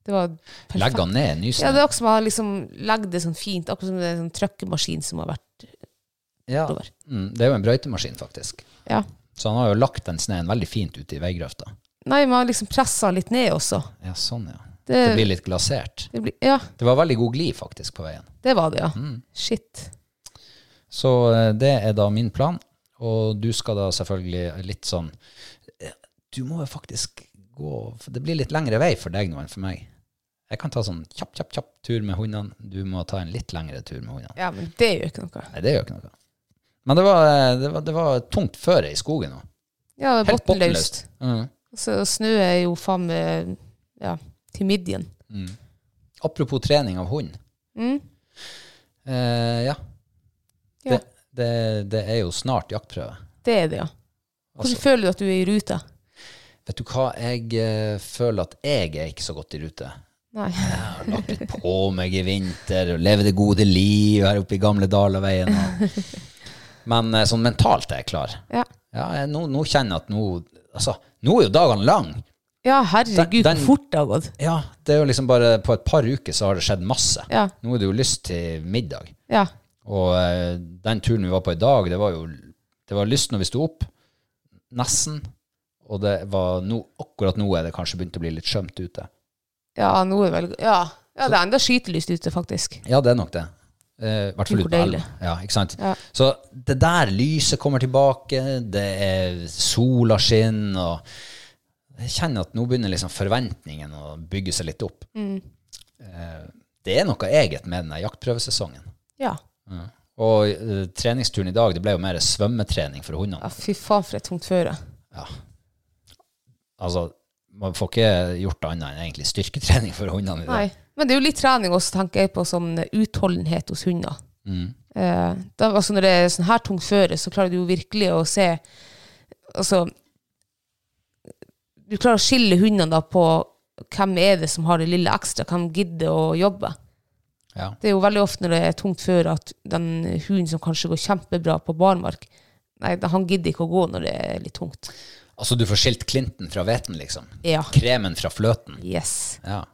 [SPEAKER 3] Det var perfekt.
[SPEAKER 2] Legge han ned i
[SPEAKER 3] Ja,
[SPEAKER 2] nysnø.
[SPEAKER 3] det er akkurat som å ha liksom legge det sånn fint, akkurat som det er en sånn trøkkemaskin som har vært
[SPEAKER 2] Ja.
[SPEAKER 3] bortover.
[SPEAKER 2] Mm, det er jo en brøytemaskin, faktisk.
[SPEAKER 3] Ja.
[SPEAKER 2] Så han har jo lagt den sneen veldig fint ute i veigrøfta.
[SPEAKER 3] Nei, man har liksom pressa litt ned også.
[SPEAKER 2] Ja, sånn, ja. Det,
[SPEAKER 3] Det,
[SPEAKER 2] blir litt glasert.
[SPEAKER 3] det blir, ja,
[SPEAKER 2] Det var veldig god gli, faktisk, på veien.
[SPEAKER 3] det var det, ja.
[SPEAKER 2] Mm.
[SPEAKER 3] Shit.
[SPEAKER 2] Så eh, det er da min plan, og du skal da selvfølgelig litt sånn eh, Du må jo faktisk gå for Det blir litt lengre vei for deg nå enn for meg. Jeg kan ta sånn kjapp, kjapp, kjapp tur med hundene. Du må ta en litt lengre tur med hundene.
[SPEAKER 3] Ja, men det gjør ikke noe.
[SPEAKER 2] Nei, det gjør ikke noe. Men det var, eh, det var, det var tungt føre i skogen nå.
[SPEAKER 3] Ja, det er
[SPEAKER 2] Helt
[SPEAKER 3] bottenløst.
[SPEAKER 2] bottenløst. Mm.
[SPEAKER 3] Så snø er jo faen meg ja, til midjen.
[SPEAKER 2] Mm. Apropos trening av hund.
[SPEAKER 3] Mm.
[SPEAKER 2] Eh, ja.
[SPEAKER 3] Ja.
[SPEAKER 2] Det, det, det er jo snart jaktprøve.
[SPEAKER 3] Det er det, ja. Hvordan
[SPEAKER 2] Altså-
[SPEAKER 3] føler du at du er i rute?
[SPEAKER 2] Vet du hva, jeg eh, føler at jeg er ikke så godt i rute.
[SPEAKER 3] Nei.
[SPEAKER 2] Jeg har lagt litt på meg i vinter og lever det gode liv her oppe i gamle Dalaveien. Og. Men eh, sånn mentalt er jeg klar.
[SPEAKER 3] Ja.
[SPEAKER 2] Ja, jeg, nå, nå kjenner jeg at nå Altså, nå er jo dagene lange.
[SPEAKER 3] Ja,
[SPEAKER 2] Den-
[SPEAKER 3] herregud,
[SPEAKER 2] den-
[SPEAKER 3] hvor fort det har gått.
[SPEAKER 2] Ja, det er jo liksom bare På et par uker så har det skjedd masse.
[SPEAKER 3] Ja.
[SPEAKER 2] Nå er det jo lyst til middag.
[SPEAKER 3] Ja.
[SPEAKER 2] Og eh, den turen vi var på i dag, det var jo Det var lyst når vi sto opp, nesten, og det var nå- akkurat nå er det kanskje begynt å bli litt skjømt ute.
[SPEAKER 3] Ja, nå er det vel Ja, ja det er enda skytelyst ute, faktisk.
[SPEAKER 2] Ja, det er nok det. Eh, I hvert fall
[SPEAKER 3] Hvor
[SPEAKER 2] ute på
[SPEAKER 3] deilig.
[SPEAKER 2] elva. Ja, ikke sant?
[SPEAKER 3] Ja.
[SPEAKER 2] Så det der lyset kommer tilbake, det er sola skinner, og jeg kjenner at nå begynner liksom forventningen å bygge seg litt opp.
[SPEAKER 3] Mm.
[SPEAKER 2] Eh, det er noe eget med denne jaktprøvesesongen. Mm.
[SPEAKER 3] Ja.
[SPEAKER 2] Og eh, treningsturen i dag, det ble jo mer svømmetrening for
[SPEAKER 3] ja
[SPEAKER 2] hundene.
[SPEAKER 3] fy faen, for et tungt føre.
[SPEAKER 2] Altså, man får ikke gjort annet enn egentlig styrketrening for hundene i dag.
[SPEAKER 3] Nei. Men det er jo litt trening også, tenker jeg, på sånn utholdenhet hos hunder. Eh, da, altså når det er sånn her tungt føre, så klarer du jo virkelig å se Altså Du klarer å skille hundene da på hvem er det som har det lille ekstra, hvem gidder å jobbe.
[SPEAKER 2] Ja.
[SPEAKER 3] Det er jo veldig ofte når det er tungt føre, at den hunden som kanskje går kjempebra på barmark, nei, da- han gidder ikke å gå når det er litt tungt.
[SPEAKER 2] Altså, du får skilt klinten fra veten, liksom.
[SPEAKER 3] Ja.
[SPEAKER 2] Kremen fra fløten.
[SPEAKER 3] Yes.
[SPEAKER 2] Ja.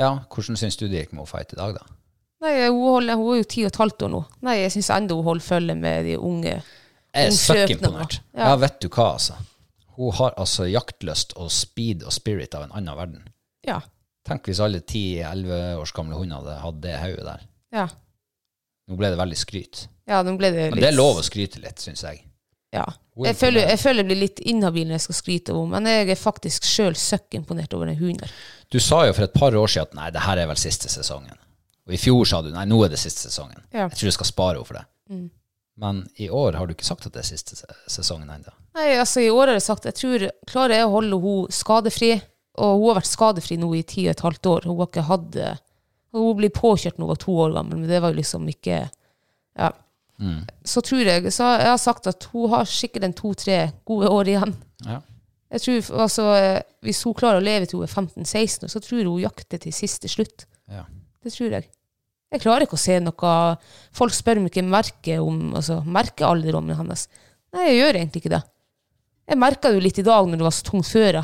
[SPEAKER 2] ja, hvordan syns du det gikk med å fight i dag, da?
[SPEAKER 3] Nei, hun, holder, hun er jo ti og et halvt år nå. Nei, jeg syns ennå hun holder følge med de unge.
[SPEAKER 2] Jeg er
[SPEAKER 3] Hun
[SPEAKER 2] søkk
[SPEAKER 3] skjøt noe.
[SPEAKER 2] imponert. Ja.
[SPEAKER 3] Ja.
[SPEAKER 2] vet du hva, altså. Hun har altså jaktlyst og speed og spirit av en annen verden.
[SPEAKER 3] Ja.
[SPEAKER 2] Tenk hvis alle 10-11 års gamle hunder hadde hatt det hodet der.
[SPEAKER 3] Ja,
[SPEAKER 2] Nå ble det veldig skryt.
[SPEAKER 3] ja nå ble det litt
[SPEAKER 2] Men det er lov å skryte litt, syns jeg.
[SPEAKER 3] Ja.
[SPEAKER 2] Hun er
[SPEAKER 3] Jeg føler,
[SPEAKER 2] imponert.
[SPEAKER 3] jeg føler jeg blir litt inhabil når jeg skal skryte om men jeg er faktisk sjøl søkk imponert over den hunden. her.
[SPEAKER 2] Du sa jo for et par år siden at nei, det her er vel siste sesongen. Og i fjor sa du nei, nå er det siste sesongen.
[SPEAKER 3] Ja. Mm.
[SPEAKER 2] Jeg tror jeg skal spare henne for det. Men i år har du ikke sagt at det er siste se- sesongen ennå.
[SPEAKER 3] Nei, altså I år har jeg sagt jeg tror klarer jeg å holde henne skadefri. Og hun har vært skadefri nå i ti og et halvt år. Hun har ikke hatt eh, Hun blir påkjørt når hun var to år gammel, men det var jo liksom ikke Ja.
[SPEAKER 2] Mm.
[SPEAKER 3] Så tror jeg Så jeg har sagt at hun har sikkert en to-tre gode år igjen.
[SPEAKER 2] Ja.
[SPEAKER 3] Jeg tror, altså, eh, Hvis hun klarer å leve til hun er 15-16 år, så tror jeg hun jakter til siste slutt.
[SPEAKER 2] Ja.
[SPEAKER 3] Det tror jeg. Jeg klarer ikke å se noe Folk spør meg ikke merke om, altså, merkealderdommen hennes. Nei, jeg gjør egentlig ikke det. Jeg merka det jo litt i dag når det var så tungt føre.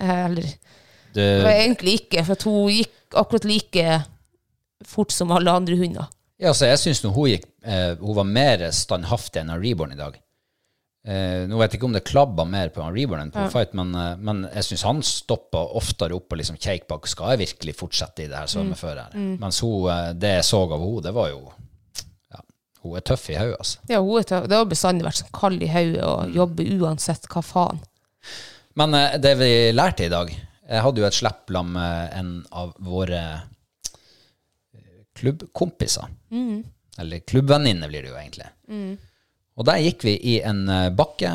[SPEAKER 3] Eh, Eller det
[SPEAKER 2] Du,
[SPEAKER 3] var jeg egentlig ikke, for at hun gikk akkurat like fort som alle andre hunder.
[SPEAKER 2] Ja, så jeg syns hun gikk eh, Hun var mer standhaftig enn han Reborn i dag. Eh, nå vet jeg ikke om det klabba mer på han Reborn enn på han Fight, men, eh, men jeg syns han stoppa oftere opp og liksom keik bak. Skal jeg virkelig fortsette i det her svømmeføret? her? Mens hun, eh, det jeg så av henne, det var jo ja, Hun er tøff i hodet, altså.
[SPEAKER 3] Ja, hun er tø- Det har bestandig vært sånn kald i hodet og jobber uansett hva faen.
[SPEAKER 2] Men eh, det vi lærte i dag Jeg hadde jo et slepplam med en av våre eh, klubbkompiser. Eller klubbvenninne blir det jo egentlig. Og der gikk vi i en eh, bakke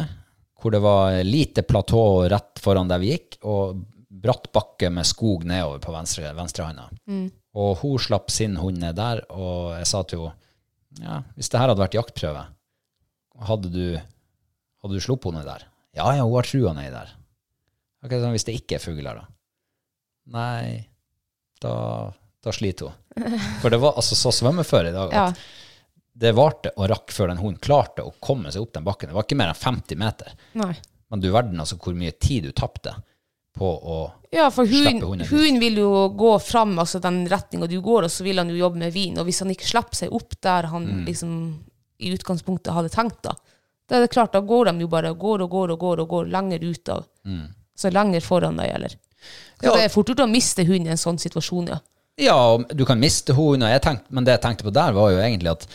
[SPEAKER 2] hvor det var lite platå rett foran der vi gikk, og bratt bakke med skog nedover på venstre, venstrehånda. Og hun slapp sin hund ned der, og jeg sa til henne ja, hvis det her hadde vært jaktprøve, hadde du, hadde du sluppet henne ned der? Ja, ja, hun har trua nedi der. Ok, sånn, Hvis det ikke er fugler, da? Nei, da, da sliter hun. For det var altså så svømmeføre i dag at
[SPEAKER 3] Ja.
[SPEAKER 2] det varte og rakk før den hunden klarte å komme seg opp den bakken. Det var ikke mer enn 50 meter.
[SPEAKER 3] Nei.
[SPEAKER 2] Men du verden altså hvor mye tid du tapte på å
[SPEAKER 3] Ja, for
[SPEAKER 2] Slipper
[SPEAKER 3] hun,
[SPEAKER 2] hunden dit.
[SPEAKER 3] hun vil jo gå fram altså den retninga du går, og så vil han jo jobbe med vin. Og hvis han ikke slipper seg opp der han liksom i utgangspunktet hadde tenkt, da, da er det klart, da går de jo bare og går og går og går og går lenger ut av. Så lenger foran deg gjelder. Så
[SPEAKER 2] Ja.
[SPEAKER 3] det er fort gjort å miste hunden i en sånn situasjon, ja.
[SPEAKER 2] Ja, og du kan miste hunden, og jeg tenkte, men det jeg tenkte på der, var jo egentlig at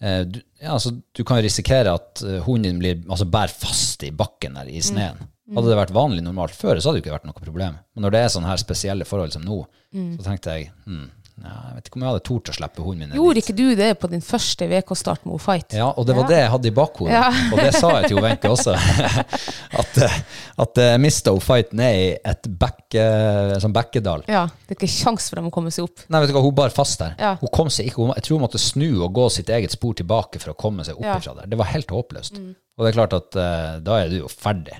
[SPEAKER 2] eh, du, ja, altså, du kan risikere at eh, hunden din blir, altså, bærer fast i bakken der i sneen.
[SPEAKER 3] Mm.
[SPEAKER 2] Hadde det vært vanlig normalt før, så hadde det ikke vært noe problem. Men når det er sånne her spesielle forhold som nå,
[SPEAKER 3] Mm.
[SPEAKER 2] så tenkte jeg hm, ja, jeg vet ikke om jeg hadde tort å slippe hunden min. ned
[SPEAKER 3] Gjorde
[SPEAKER 2] dit.
[SPEAKER 3] ikke du det på din første VK-start med Fight?
[SPEAKER 2] Ja, og det var det jeg hadde i bakhodet. Og det sa jeg til Wenche også. at, eh, at jeg mista fight ned i et bekke, sånn bekkedal.
[SPEAKER 3] Ja, Det er ikke kjangs for dem å komme seg opp.
[SPEAKER 2] Nei, vet du hva, hun bar fast der.
[SPEAKER 3] Ja.
[SPEAKER 2] Hun kom seg ikke, hun, jeg tror hun måtte snu og gå sitt eget spor tilbake for å komme seg opp
[SPEAKER 3] Ja. Mm.
[SPEAKER 2] ifra der. Det var helt håpløst. Og det er klart at eh, da er du jo ferdig.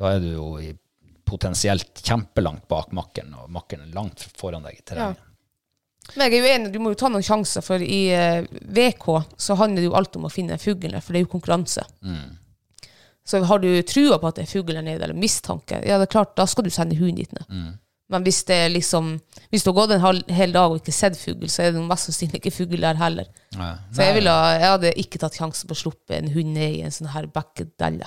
[SPEAKER 2] Da er du jo i, potensielt kjempelangt bak makkeren, og makkeren er langt foran deg i terrenget.
[SPEAKER 3] Men jeg er jo enig, du må jo ta noen sjanser, for i eh, VK så handler det jo alt om å finne fuglene, for det er jo konkurranse.
[SPEAKER 2] Mm.
[SPEAKER 3] Så har du trua på at
[SPEAKER 2] Mm.
[SPEAKER 3] det er fugl der nede, eller mistanke, ja, det er klart, da skal du sende hunden dit ned. Men hvis det er liksom Hvis du har gått en hal- hel dag og ikke sett fugl, så er det mest sannsynlig ikke fugl der heller.
[SPEAKER 2] Ja.
[SPEAKER 3] Så jeg, ville, ha- jeg hadde ikke tatt sjansen på å sluppe en hund ned i en sånn her bekkedelle.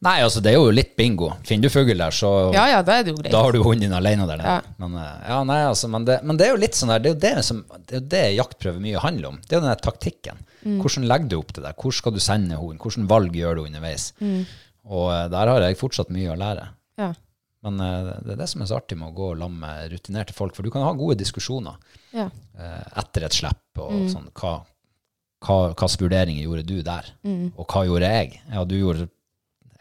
[SPEAKER 2] Nei, altså, det er jo litt bingo. Finner du fugl der, så
[SPEAKER 3] Ja, ja, da er det jo greit.
[SPEAKER 2] Da har du hunden din alene der nede.
[SPEAKER 3] Ja.
[SPEAKER 2] Men, eh, ja, nei, altså, men, det, men det er jo litt sånn der, det er jo det, som, det, er jo det jaktprøver mye handler om. Det er jo den der taktikken.
[SPEAKER 3] Mm.
[SPEAKER 2] Hvordan legger du opp det der? Hvor skal du sende hunden? Hvilke valg gjør du underveis? Og eh, der har jeg fortsatt mye å lære.
[SPEAKER 3] Mm. Ja.
[SPEAKER 2] Men eh, det er det som er så artig med å gå og lamme rutinerte folk, for du kan ha gode diskusjoner
[SPEAKER 3] Ja. Mm.
[SPEAKER 2] eh, etter et slipp og sånn. Hva, hva, hvilke vurderinger gjorde du der?
[SPEAKER 3] Mm.
[SPEAKER 2] Og hva gjorde jeg? Ja, du gjorde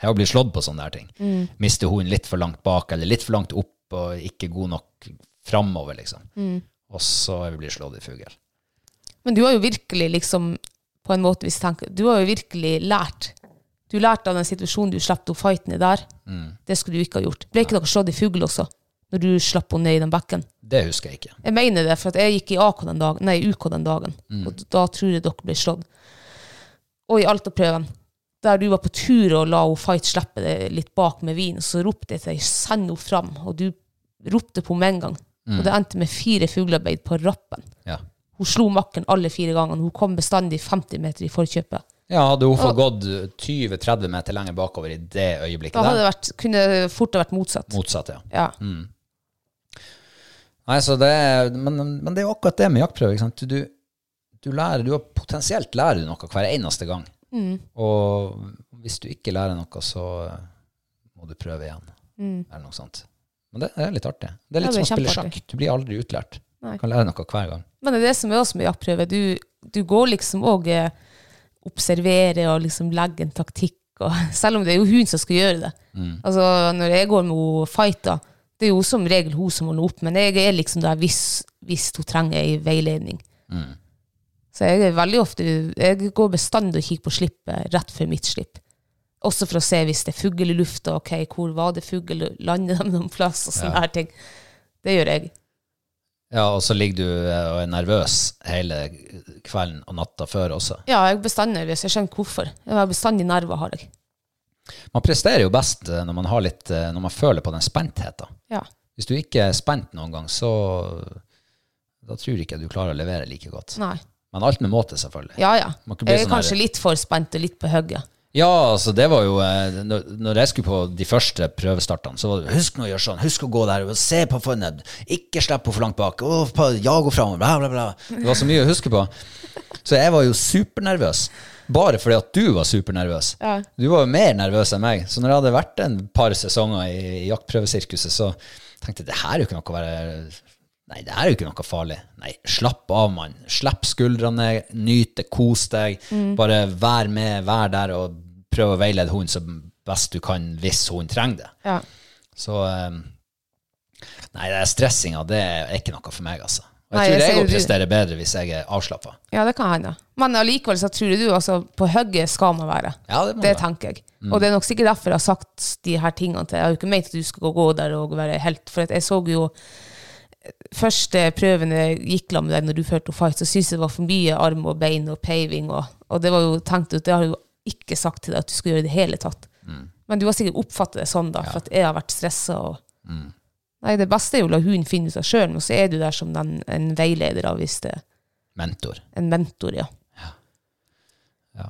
[SPEAKER 2] Jeg har blitt slått på sånne der ting.
[SPEAKER 3] Mm.
[SPEAKER 2] Miste hunden litt for langt bak eller litt for langt opp og ikke god nok framover, liksom.
[SPEAKER 3] Mm.
[SPEAKER 2] Og så er vi blitt slått i fugl.
[SPEAKER 3] Men du har jo virkelig liksom på en måte hvis du tenker, Du har jo virkelig lært. Du lærte av den situasjonen du slapp opp fighten i der.
[SPEAKER 2] Mm.
[SPEAKER 3] Det skulle du ikke ha gjort. Ble ikke dere slått i fugl også, når du slapp henne ned i den bekken?
[SPEAKER 2] Det husker jeg ikke.
[SPEAKER 3] Jeg mener det, for at jeg gikk i AK den dagen, nei, UK den dagen,
[SPEAKER 2] Mm.
[SPEAKER 3] og da tror jeg dere ble slått. Og i Alta-prøven, der du var på tur og la hun fight slippe det litt bak med vin, så ropte jeg til deg, send henne fram, og du ropte på henne med en gang.
[SPEAKER 2] Mm.
[SPEAKER 3] Og det endte med fire fuglearbeid på rappen.
[SPEAKER 2] Ja.
[SPEAKER 3] Hun slo makken alle fire gangene. Hun kom bestandig 50 meter i forkjøpet.
[SPEAKER 2] Ja, hadde hun fått
[SPEAKER 3] Og-
[SPEAKER 2] gått 20-30 meter lenger bakover i det øyeblikket
[SPEAKER 3] Da hadde
[SPEAKER 2] der?
[SPEAKER 3] det vært, kunne det fort ha vært motsatt.
[SPEAKER 2] Motsatt, ja.
[SPEAKER 3] Ja.
[SPEAKER 2] Nei, så det er, men, men det er jo akkurat det med jaktprøve. Ikke sant? Du, du lærer, du har potensielt lærer du noe hver eneste gang.
[SPEAKER 3] Mm.
[SPEAKER 2] Og hvis du ikke lærer noe, så må du prøve igjen. Eller noe sånt. Men det er litt artig. Det er litt
[SPEAKER 3] Mm. Ja, det er
[SPEAKER 2] som å spille
[SPEAKER 3] kjempeartig.
[SPEAKER 2] sjakk. Du blir aldri utlært.
[SPEAKER 3] Nei.
[SPEAKER 2] Du kan lære noe hver gang.
[SPEAKER 3] Men det er det som er også med jaktprøve. Du, du går liksom og eh, observerer og liksom legger en taktikk. Og, selv om det er jo hun som skal gjøre det. Altså, når jeg går med henne fighter, det er jo som regel hun som holder opp, men jeg er liksom der hvis, hvis hun trenger ei veiledning.
[SPEAKER 2] Mm.
[SPEAKER 3] Så jeg er veldig ofte Jeg går bestandig og kikker på slippet rett før mitt slipp. Også for å se hvis det er fugl i lufta, ok, hvor var det fugl, lander de noen plass, og sånne her ting. Det gjør jeg.
[SPEAKER 2] Ja, og så ligger du eh, og er nervøs hele kvelden og natta før også.
[SPEAKER 3] Ja, jeg er bestandig nervøs. Jeg skjønner ikke hvorfor. Jeg har bestandig nerver, har jeg.
[SPEAKER 2] Man presterer jo best eh, når man, har litt, eh, når man føler på den spentheten.
[SPEAKER 3] Ja.
[SPEAKER 2] Hvis du ikke er spent noen gang, så da tror jeg ikke du klarer å levere like godt.
[SPEAKER 3] Nei.
[SPEAKER 2] Men alt med måte, selvfølgelig.
[SPEAKER 3] Ja, ja.
[SPEAKER 2] Man kan bli
[SPEAKER 3] Jeg er
[SPEAKER 2] sånn
[SPEAKER 3] kanskje
[SPEAKER 2] her-
[SPEAKER 3] litt for spent og litt på hugget.
[SPEAKER 2] Ja, altså det var jo eh, Når når jeg skulle på de første prøvestartene, så var det Husk nå å gjøre sånn, husk å gå der, og se på funnet, ikke slipp henne for langt bak, og på, jag henne framover, bla, bla, bla. Det var så mye å huske på. Så jeg var jo supernervøs. Bare fordi at du var supernervøs.
[SPEAKER 3] Ja.
[SPEAKER 2] Du var jo mer nervøs enn meg. Så når jeg hadde vært en par sesonger i, i jaktprøvesirkuset, så tenkte jeg det her er jo ikke noe å være Nei, det her er jo ikke noe farlig. Nei, slapp av, mann. Slipp skuldrene, nyt det, kos deg.
[SPEAKER 3] Mm.
[SPEAKER 2] Bare vær med, vær der, og prøv å veilede hunden så best du kan hvis hun trenger det.
[SPEAKER 3] Ja.
[SPEAKER 2] Så eh, Nei, det er stressinga, det er ikke noe for meg, altså. Og
[SPEAKER 3] Nei,
[SPEAKER 2] jeg tror
[SPEAKER 3] jeg
[SPEAKER 2] jeg òg
[SPEAKER 3] ser jo du-
[SPEAKER 2] presterer bedre hvis jeg er avslappa.
[SPEAKER 3] ja, det kan hende. Men allikevel så tror jeg du altså, på hugget skal man være.
[SPEAKER 2] Ja, det må
[SPEAKER 3] det
[SPEAKER 2] man være.
[SPEAKER 3] tenker jeg. Og det er nok sikkert derfor jeg har sagt de her tingene til Jeg har jo ikke ment at du skal gå der og være helt, for at jeg så jo eh, Første prøven jeg gikk la med deg når du førte fight, så syntes jeg det var for mye arm og bein og paving, og, og det var jo tenkt ut, det har jeg jo ikke sagt til deg at du skulle gjøre i det hele tatt. Men du har sikkert oppfattet det sånn, da, for at jeg har vært stressa. Og... Nei, det beste er jo å la hunden finne ut av sjøl, men så er du der som den, en veileder, da, hvis det
[SPEAKER 2] Mentor.
[SPEAKER 3] en mentor, ja. eh,
[SPEAKER 2] Ja.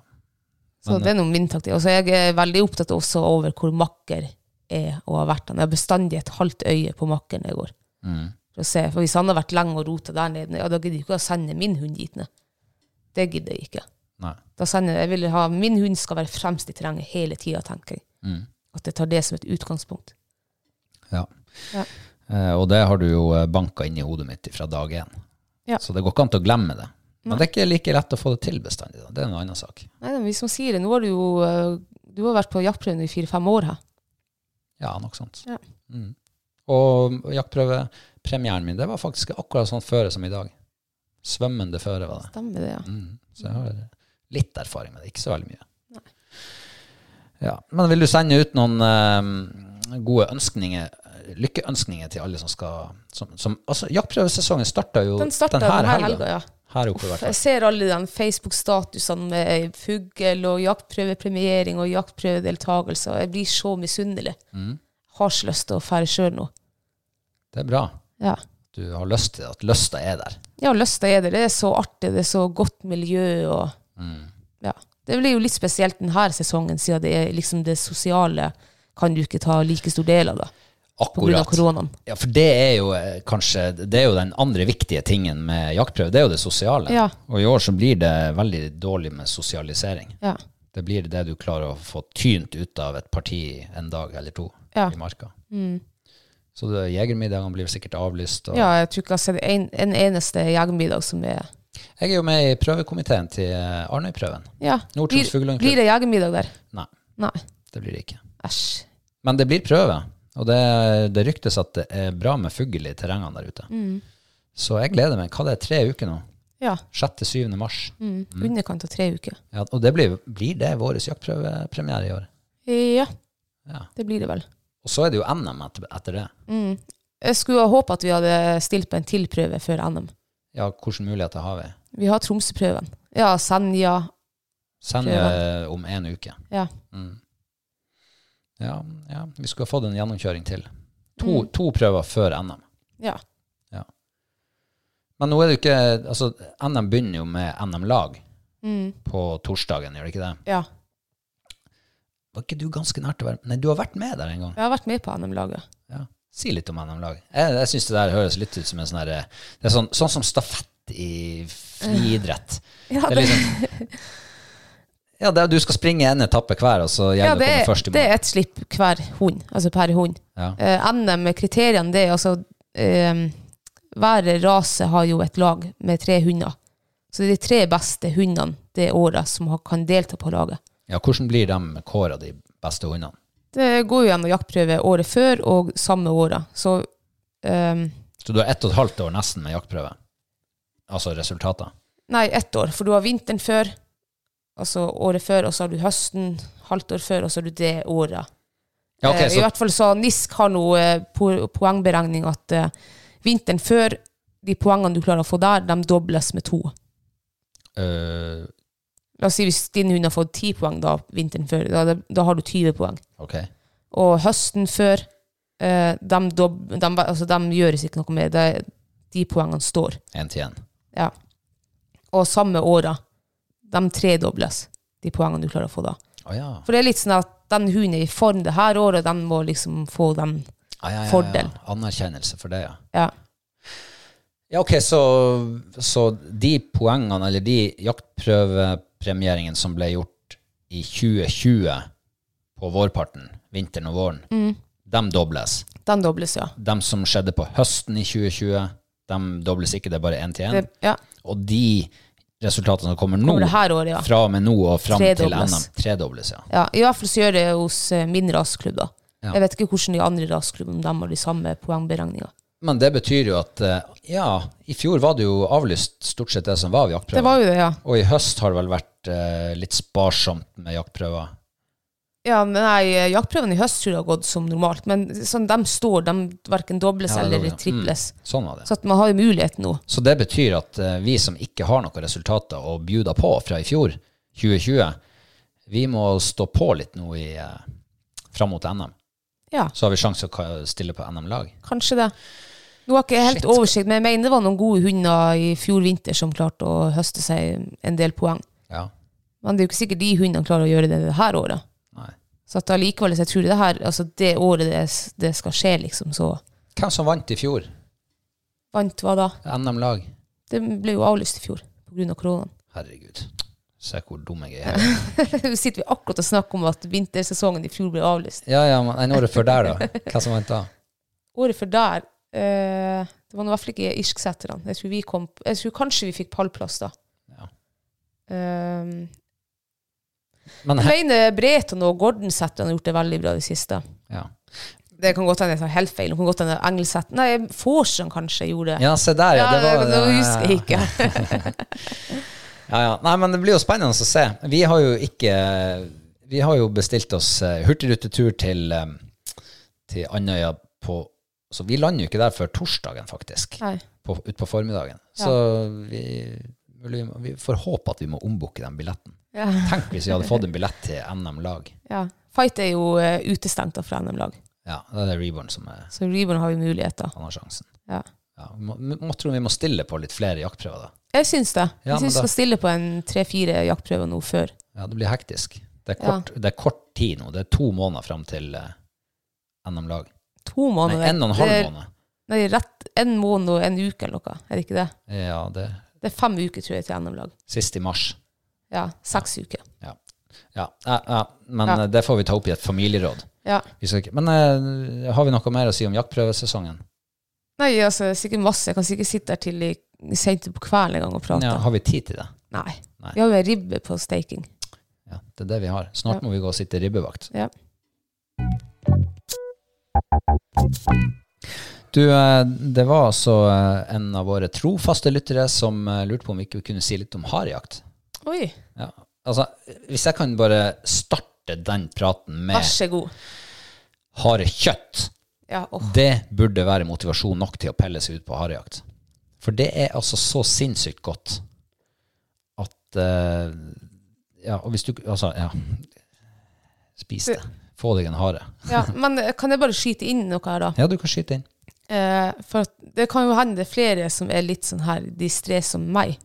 [SPEAKER 3] Så det er noen min taktikk. Og så er jeg veldig opptatt også over hvor makker er og har vært. Han har bestandig et halvt øye på makker når jeg går. For, å se. for hvis han har vært lenge og rota der nede, ja, da gidder jeg ikke å sende min hund dit ned. Det gidder jeg ikke.
[SPEAKER 2] Nei.
[SPEAKER 3] Da sender jeg, jeg vil ha, min hund skal være fremst i terrenget hele tida, tenker jeg. At jeg tar det som et utgangspunkt.
[SPEAKER 2] Ja.
[SPEAKER 3] Ja.
[SPEAKER 2] Eh, og det har du jo banka inn i hodet mitt fra dag én.
[SPEAKER 3] Ja.
[SPEAKER 2] Så det går ikke an til å glemme det. Men det er ikke like lett å få det til bestandig. Da. Det er en annen sak.
[SPEAKER 3] Nei, men vi som sier det, nå har du jo øh, du har vært på jaktprøven i fire-fem år her.
[SPEAKER 2] Ja, nok sant.
[SPEAKER 3] Ja.
[SPEAKER 2] Mm. Og jaktprøvepremieren min, det var faktisk akkurat sånn føre som i dag. Svømmende føre var det.
[SPEAKER 3] Stemmer det, ja.
[SPEAKER 2] Mm. Så jeg har litt erfaring med det, ikke så veldig mye. Ja. Men vil du sende ut noen eh, gode ønskninger, lykkeønskninger til alle som skal som, som, altså, Jaktprøvesesongen starta jo
[SPEAKER 3] Den starta denne helga, ja.
[SPEAKER 2] Her oppe i hvert
[SPEAKER 3] Jeg
[SPEAKER 2] fall.
[SPEAKER 3] ser alle de Facebook-statusene med fugl og jaktprøvepremiering og jaktprøvedeltakelse, og jeg blir
[SPEAKER 2] Mm.
[SPEAKER 3] så misunnelig. Har så lyst til å fære sjøl nå.
[SPEAKER 2] Det er bra.
[SPEAKER 3] Ja.
[SPEAKER 2] du har lyst til det, at lysta er der.
[SPEAKER 3] Ja, lysta er det. Det er så artig, det er så godt miljø og
[SPEAKER 2] Mm.
[SPEAKER 3] Ja. Det blir jo litt spesielt denne sesongen, siden det er liksom det sosiale kan du ikke ta like stor del av, da. På grunn av
[SPEAKER 2] Akkurat.
[SPEAKER 3] koronaen.
[SPEAKER 2] Ja, for det er jo eh, kanskje Det er jo den andre viktige tingen med jaktprøve. Det er jo det sosiale.
[SPEAKER 3] Ja.
[SPEAKER 2] Og i år så blir det veldig dårlig med sosialisering.
[SPEAKER 3] Ja.
[SPEAKER 2] Det blir det du klarer å få tynt ut av et parti en dag eller to
[SPEAKER 3] Ja. Mm.
[SPEAKER 2] i marka. Så det- jegermiddagene blir sikkert avlyst. Og
[SPEAKER 3] ja, jeg tror ikke jeg har sett en, en eneste jegermiddag som er
[SPEAKER 2] Jeg er jo med i prøvekomiteen til eh, Arnøyprøven.
[SPEAKER 3] Ja.
[SPEAKER 2] Nord-Troms
[SPEAKER 3] Blir,
[SPEAKER 2] Fuglehundklubb.
[SPEAKER 3] blir det jegermiddag der?
[SPEAKER 2] Nei,
[SPEAKER 3] Nei.
[SPEAKER 2] det blir det ikke.
[SPEAKER 3] Æsj.
[SPEAKER 2] Men det blir prøve, og det, det ryktes at det er bra med fugl i terrengene der ute. Så jeg gleder meg. Hva det er tre uker nå?
[SPEAKER 3] Ja.
[SPEAKER 2] 6.-7. mars.
[SPEAKER 3] Mm. Underkant av tre uker.
[SPEAKER 2] Ja, og det blir, blir det vår jaktprøvepremiere i år.
[SPEAKER 3] Ja,
[SPEAKER 2] Ja.
[SPEAKER 3] det blir det vel.
[SPEAKER 2] Og så er det jo NM etter, etter det.
[SPEAKER 3] Mm. Jeg skulle ha håpet at vi hadde stilt på en til prøve før NM.
[SPEAKER 2] Ja, hvilke muligheter har vi?
[SPEAKER 3] Vi har Tromsø-prøven. Ja, Senja.
[SPEAKER 2] Send
[SPEAKER 3] Prøven.
[SPEAKER 2] eh, om en uke. Mm.
[SPEAKER 3] Ja.
[SPEAKER 2] Ja, ja, vi skulle ha fått en gjennomkjøring til. To,
[SPEAKER 3] Mm.
[SPEAKER 2] to prøver før NM.
[SPEAKER 3] ja.
[SPEAKER 2] Men nå er det jo ikke Altså, NM begynner jo med NM-lag
[SPEAKER 3] Mm.
[SPEAKER 2] på torsdagen, gjør det ikke det?
[SPEAKER 3] Ja.
[SPEAKER 2] Var ikke du ganske nært til å være Nei, du har vært med der en gang.
[SPEAKER 3] Jeg har vært med på NM-laget.
[SPEAKER 2] Ja. Si litt om NM-lag. Jeg, jeg syns det der høres litt ut som en sånn herre Det er sånn, sånn som stafett i friidrett.
[SPEAKER 3] Ja,
[SPEAKER 2] det er liksom Ja, det er, du skal springe en etappe hver, og så
[SPEAKER 3] Ja,
[SPEAKER 2] gjelder det
[SPEAKER 3] det
[SPEAKER 2] å komme
[SPEAKER 3] er,
[SPEAKER 2] først i
[SPEAKER 3] det er
[SPEAKER 2] mål.
[SPEAKER 3] et slipp hver hund, altså per hund.
[SPEAKER 2] Ja.
[SPEAKER 3] Eh, NM-kriteriene, det er altså eh, Hver rase har jo et lag med tre hunder. Så det er de tre beste hundene det året som har, kan delta på laget.
[SPEAKER 2] ja, hvordan blir de kåra, de beste hundene?
[SPEAKER 3] Det går jo gjennom jaktprøve året før og samme året. Så ehm,
[SPEAKER 2] Så du har ett og et halvt år nesten med jaktprøve. Altså resultater.
[SPEAKER 3] Nei, ett år, for du har vinteren før, altså året før, og så har du høsten, halvt år før, og så har du det året.
[SPEAKER 2] Ja, ok,
[SPEAKER 3] Eh, I
[SPEAKER 2] så,
[SPEAKER 3] hvert fall så NISK har nå eh, po- poengberegning at eh, vinteren før, de poengene du klarer å få der, de dobles med to.
[SPEAKER 2] øh,
[SPEAKER 3] La oss si hvis din hund har fått ti poeng da vinteren før, da, da, da har du 20 poeng.
[SPEAKER 2] ok.
[SPEAKER 3] Og høsten før, eh, de, dob, de, altså, de gjøres ikke noe med, det, de poengene står.
[SPEAKER 2] Én til én.
[SPEAKER 3] Ja. Og samme året, de tredobles, de poengene du klarer å få da.
[SPEAKER 2] Å ja.
[SPEAKER 3] For det er litt sånn at den hunden er i form det her året, den må liksom få den
[SPEAKER 2] Ah, ja, ja, ja.
[SPEAKER 3] Fordel.
[SPEAKER 2] Anerkjennelse for det, ja.
[SPEAKER 3] Ja.
[SPEAKER 2] Ja, ok, så, så de poengene, eller de jaktprøvepremieringene som ble gjort i 2020 på vårparten, vinteren og våren,
[SPEAKER 3] Mm.
[SPEAKER 2] de dobles.
[SPEAKER 3] Den dobles, ja.
[SPEAKER 2] De som skjedde på høsten i 2020, de dobles ikke, det er bare én til
[SPEAKER 3] Det,
[SPEAKER 2] én.
[SPEAKER 3] ja.
[SPEAKER 2] Og de resultatene som kommer nå,
[SPEAKER 3] Kommer det her året, ja.
[SPEAKER 2] fra og med nå og fram til
[SPEAKER 3] Tredobles.
[SPEAKER 2] NM, tredobles, ja.
[SPEAKER 3] ja. I hvert fall så gjør det hos eh, min raseklubb, da.
[SPEAKER 2] Ja.
[SPEAKER 3] Jeg vet ikke hvordan de andre raseklubbene de har de samme poengberegninga.
[SPEAKER 2] Men det betyr jo at eh, ja, i fjor var det jo avlyst stort sett det som var av jaktprøver.
[SPEAKER 3] Det var jo det, ja.
[SPEAKER 2] Og i høst har det vel vært eh, litt sparsomt med jaktprøver.
[SPEAKER 3] Ja, men nei, eh, Jaktprøven i høst tror jeg har gått som normalt, men sånn, de står, de verken dobles
[SPEAKER 2] Ja, det
[SPEAKER 3] eller
[SPEAKER 2] gjorde det.
[SPEAKER 3] triples.
[SPEAKER 2] Sånn var det.
[SPEAKER 3] Så at man har jo mulighet nå.
[SPEAKER 2] Så det betyr at eh, vi som ikke har noen resultater å bjuda på fra i fjor, 2020, vi må stå på litt nå i, eh, fram mot NM.
[SPEAKER 3] Ja,
[SPEAKER 2] Så har vi sjanse å ka- stille på NM-lag.
[SPEAKER 3] kanskje det. Nå har ikke jeg helt
[SPEAKER 2] Shit.
[SPEAKER 3] oversikt, men jeg mener det var noen gode hunder i fjor vinter som klarte å høste seg en del poeng.
[SPEAKER 2] Ja.
[SPEAKER 3] Men det er jo ikke sikkert de hundene klarer å gjøre det det her året.
[SPEAKER 2] Nei.
[SPEAKER 3] Så at allikevel, så jeg tror det her, altså det året det, det skal skje, liksom, så
[SPEAKER 2] Hvem som vant i fjor?
[SPEAKER 3] vant hva da?
[SPEAKER 2] NM-lag?
[SPEAKER 3] Det ble jo avlyst i fjor pga. koronaen.
[SPEAKER 2] Herregud. Se hvor dum jeg er.
[SPEAKER 3] Nå sitter vi akkurat og snakker om at vintersesongen i fjor ble avlyst.
[SPEAKER 2] Ja, ja, men en året før der, da. Hvem som vant da?
[SPEAKER 3] Året før der eh, Det var nå i hvert fall ikke irsksetterne. Jeg, tror vi kom- jeg tror kanskje vi fikk pallplass da.
[SPEAKER 2] Ja.
[SPEAKER 3] Um,
[SPEAKER 2] Men
[SPEAKER 3] jeg
[SPEAKER 2] he
[SPEAKER 3] mener Breton og Gordonsetterne har gjort det veldig bra i det siste.
[SPEAKER 2] ja.
[SPEAKER 3] Det kan godt hende jeg tar helt feil. Det kan godt hende Engelsetten Nei, Forsen kanskje gjorde det.
[SPEAKER 2] ja, se der, ja. Det var,
[SPEAKER 3] nå husker jeg
[SPEAKER 2] ja,
[SPEAKER 3] ikke.
[SPEAKER 2] Ja, ja. Nei, men det blir jo spennende å se. Vi har jo ikke Vi har jo bestilt oss eh, hurtigrutetur til, eh, til Andøya på Så vi lander jo ikke der før torsdagen, faktisk.
[SPEAKER 3] Nei.
[SPEAKER 2] På, utpå formiddagen.
[SPEAKER 3] Ja.
[SPEAKER 2] Så vi, mulig vi må- vi får håpe at vi må ombooke den billetten.
[SPEAKER 3] Ja.
[SPEAKER 2] Tenk hvis vi hadde fått en billett til NM-lag.
[SPEAKER 3] Ja. Fight er jo eh, utestengt da fra NM-lag,
[SPEAKER 2] Ja, da er det Reborn som er,
[SPEAKER 3] så Reborn har jo muligheter.
[SPEAKER 2] han har sjansen.
[SPEAKER 3] Ja.
[SPEAKER 2] Ja, må, må, tror vi må stille på litt flere jaktprøver, da.
[SPEAKER 3] Jeg syns det.
[SPEAKER 2] Ja,
[SPEAKER 3] jeg syns
[SPEAKER 2] men
[SPEAKER 3] vi
[SPEAKER 2] da-
[SPEAKER 3] skal stille på en tre-fire jaktprøver nå før.
[SPEAKER 2] Ja, det blir hektisk. Det er kort, det er kort tid nå. Det er to måneder fram til eh, NM-lag.
[SPEAKER 3] To
[SPEAKER 2] Nei,
[SPEAKER 3] måneder.
[SPEAKER 2] en og en halv
[SPEAKER 3] Det er-
[SPEAKER 2] måned.
[SPEAKER 3] Nei, rett en måned og en uke eller noe. Er det ikke det?
[SPEAKER 2] Ja, det er
[SPEAKER 3] Det er fem uker, tror jeg, til NM-lag.
[SPEAKER 2] sist i mars.
[SPEAKER 3] Ja, seks uker.
[SPEAKER 2] Ja. Ja, ja, ja. Men
[SPEAKER 3] Ja.
[SPEAKER 2] eh, det får vi ta opp i et familieråd.
[SPEAKER 3] Ja.
[SPEAKER 2] Vi skal ikke, men eh, har vi noe mer å si om jaktprøvesesongen?
[SPEAKER 3] Nei, altså, det er sikkert masse. Jeg kan sikkert sitte her til i- sent på kvelden en gang og prate.
[SPEAKER 2] Ja, har vi tid til det?
[SPEAKER 3] Nei.
[SPEAKER 2] Nei.
[SPEAKER 3] Vi har jo ei ribbe på staking.
[SPEAKER 2] Ja, det er det vi har. Snart
[SPEAKER 3] Ja.
[SPEAKER 2] må vi gå og sitte ribbevakt.
[SPEAKER 3] Ja.
[SPEAKER 2] Du, eh, det var altså eh, en av våre trofaste lyttere som eh, lurte på om vi ikke kunne si litt om harejakt.
[SPEAKER 3] Oi,
[SPEAKER 2] Ja. Altså, hvis jeg kan bare starte den praten
[SPEAKER 3] vær
[SPEAKER 2] med
[SPEAKER 3] så god.
[SPEAKER 2] harekjøtt,
[SPEAKER 3] Ja, åh.
[SPEAKER 2] det burde være motivasjon nok til å pelle seg ut på harejakt. For det er altså så sinnssykt godt at eh, Ja, og hvis du Altså, ja. Spis det. Få deg en hare.
[SPEAKER 3] Ja, men eh, kan jeg bare skyte inn noe her, da?
[SPEAKER 2] Ja, du kan skyte inn.
[SPEAKER 3] Eh, for at det kan jo hende det er flere som er litt sånn her distré som meg.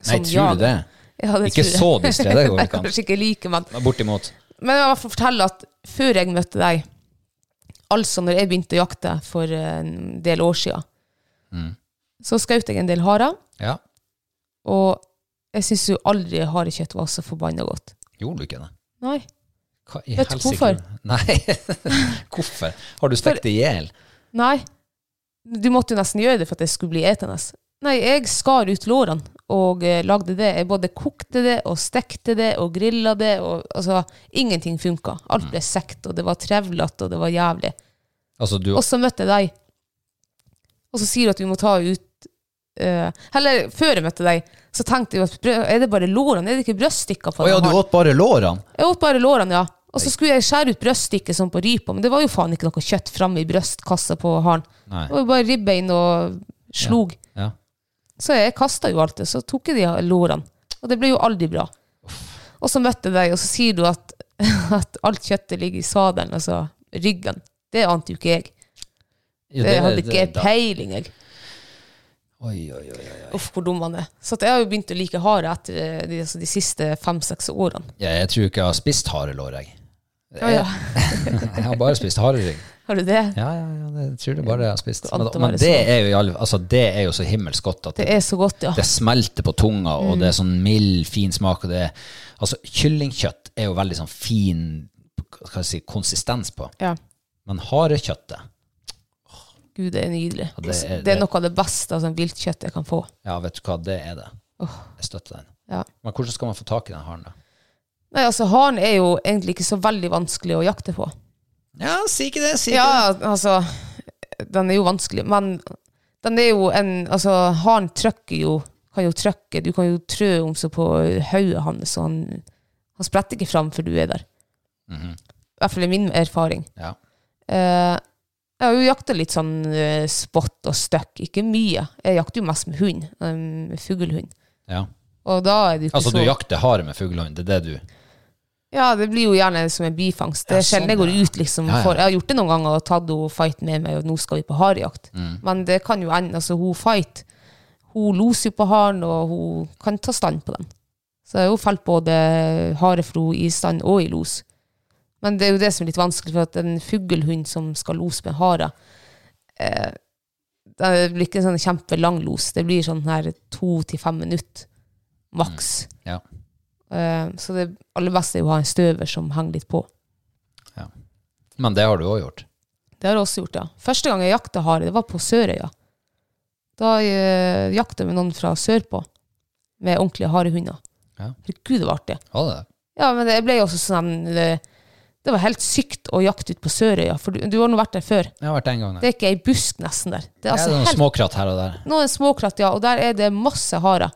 [SPEAKER 2] Nei,
[SPEAKER 3] Som
[SPEAKER 2] tror du det?
[SPEAKER 3] Ja, det
[SPEAKER 2] Ikke
[SPEAKER 3] tror jeg.
[SPEAKER 2] så distré, det går
[SPEAKER 3] Nei,
[SPEAKER 2] ikke an.
[SPEAKER 3] Kanskje ikke like, men
[SPEAKER 2] Bortimot.
[SPEAKER 3] Men jeg vil i hvert fall fortelle at før jeg møtte deg, altså når jeg begynte å jakte for en del år siden,
[SPEAKER 2] Mm.
[SPEAKER 3] så skjøt jeg en del harer,
[SPEAKER 2] Ja.
[SPEAKER 3] og jeg syns jo aldri harekjøtt var så forbanna godt.
[SPEAKER 2] Gjorde du ikke det?
[SPEAKER 3] Nei.
[SPEAKER 2] Hva i
[SPEAKER 3] Vet du
[SPEAKER 2] helsike?
[SPEAKER 3] hvorfor?
[SPEAKER 2] Nei. hvorfor? Har du stekt det i hjel?
[SPEAKER 3] Nei. Du måtte jo nesten gjøre det for at det skulle bli etende. Nei, jeg skar ut lårene og eh, lagde det. Jeg både kokte det og stekte det og grilla det. Og, altså, ingenting funka. Alt ble sekt, og det var trevlete, og det var jævlig.
[SPEAKER 2] Altså, du
[SPEAKER 3] Og så møtte jeg deg. Og så sier du at vi må ta ut eh, Eller før jeg møtte deg, så tenkte jeg at brø- er det bare lårene? Er det ikke bryststykker på
[SPEAKER 2] Å ja, du
[SPEAKER 3] den haren?
[SPEAKER 2] åt bare lårene?
[SPEAKER 3] Jeg åt bare lårene, ja. Og så skulle jeg skjære ut bryststykket sånn på rypa, men det var jo faen ikke noe kjøtt framme i brystkassa på haren.
[SPEAKER 2] Nei.
[SPEAKER 3] Det var jo bare ribbein og slog.
[SPEAKER 2] Ja.
[SPEAKER 3] Så jeg kasta jo alt det, så tok jeg de lårene. Og det ble jo aldri bra. Og så møtte jeg deg, og så sier du at, at alt kjøttet ligger i sadelen, altså ryggen. Det ante jo ikke jeg.
[SPEAKER 2] Jo,
[SPEAKER 3] Det hadde ikke
[SPEAKER 2] da-
[SPEAKER 3] peiling, jeg.
[SPEAKER 2] Oi, oi, oi, oi.
[SPEAKER 3] Uff, hvor dum han er. Så at jeg har jo begynt å like hare etter eh, de, altså, de siste fem-seks årene.
[SPEAKER 2] Ja, jeg tror ikke jeg har spist harelår, jeg.
[SPEAKER 3] Ja, ja.
[SPEAKER 2] Jeg har bare spist harerygg.
[SPEAKER 3] Har du det?
[SPEAKER 2] Ja, ja, ja, det tror jeg bare jeg har spist.
[SPEAKER 3] Skal
[SPEAKER 2] Men,
[SPEAKER 3] alt være
[SPEAKER 2] men det, er jo, i alle- altså, det er jo så himmelsk godt at
[SPEAKER 3] Det
[SPEAKER 2] det,
[SPEAKER 3] er så godt, ja. Mm.
[SPEAKER 2] det smelter på tunga, og det er sånn mild, fin smak. Og det er, altså, kyllingkjøtt er jo veldig sånn fin hva skal jeg si, konsistens på.
[SPEAKER 3] ja.
[SPEAKER 2] Men harekjøttet
[SPEAKER 3] Gud, det er nydelig.
[SPEAKER 2] Ja,
[SPEAKER 3] det,
[SPEAKER 2] det er-
[SPEAKER 3] er, noe av det beste av sånn viltkjøtt jeg kan få.
[SPEAKER 2] Ja, vet du hva, det er det. Jeg støtter den.
[SPEAKER 3] Ja.
[SPEAKER 2] Men hvordan skal man få tak i den haren, da?
[SPEAKER 3] Nei, altså, Haren er jo egentlig ikke så veldig vanskelig å jakte på.
[SPEAKER 2] Ja, si ikke det, si
[SPEAKER 3] Ja, altså Den er jo vanskelig, men den er jo en Altså, haren trykker jo Kan jo trykke. Du kan jo trø om seg på hodet hans, så han, han spretter ikke fram før du er der.
[SPEAKER 2] Mhm.
[SPEAKER 3] I hvert fall i min erfaring.
[SPEAKER 2] Ja.
[SPEAKER 3] Eh, jeg har jo jakta litt sånn eh, spot og støkk. Ikke mye. Jeg jakter jo mest med hund. Um, med fuglehund.
[SPEAKER 2] ja.
[SPEAKER 3] Og da er det jo ikke
[SPEAKER 2] Altså,
[SPEAKER 3] så
[SPEAKER 2] du jakter hare med fuglehund, det er det du
[SPEAKER 3] Ja, det blir jo gjerne som en bifangst. Det
[SPEAKER 2] Ja,
[SPEAKER 3] er sjelden jeg
[SPEAKER 2] sånn,
[SPEAKER 3] går
[SPEAKER 2] ja.
[SPEAKER 3] ut, liksom.
[SPEAKER 2] Ja, ja.
[SPEAKER 3] For, jeg har gjort det noen ganger og tatt henne fight med meg, og nå skal vi på harejakt.
[SPEAKER 2] Mm.
[SPEAKER 3] Men det kan jo ende Altså, hun fight Hun loser jo på haren, og hun kan ta stand på den. Så jeg har jo felt både harefro i stand og i los. Men det er jo det som er litt vanskelig, for at en fuglehund som skal lose med en hare eh, Det blir ikke en sånn kjempelang los. Det blir sånn her to til fem minutter maks.
[SPEAKER 2] Ja.
[SPEAKER 3] Eh, Så det aller beste er jo å ha en støver som henger litt på.
[SPEAKER 2] Men det har du òg gjort.
[SPEAKER 3] Det har jeg også gjort, ja. Første gang jeg jakta hare, det var på Sørøya. Da eh, jakta vi noen fra sørpå med ordentlige harehunder.
[SPEAKER 2] Ja.
[SPEAKER 3] Herregud, det var artig.
[SPEAKER 2] Var det det?
[SPEAKER 3] Ja, men det ble jo også sånn Det, det var helt sykt å jakte ut på Sørøya, for du, du har nå vært der før.
[SPEAKER 2] Jeg har vært en gang der.
[SPEAKER 3] Det er ikke ei busk nesten der. Det er
[SPEAKER 2] Ja,
[SPEAKER 3] altså
[SPEAKER 2] det er noen
[SPEAKER 3] helt
[SPEAKER 2] småkratt her og der.
[SPEAKER 3] Noen småkratt, ja, og der er det masse harer.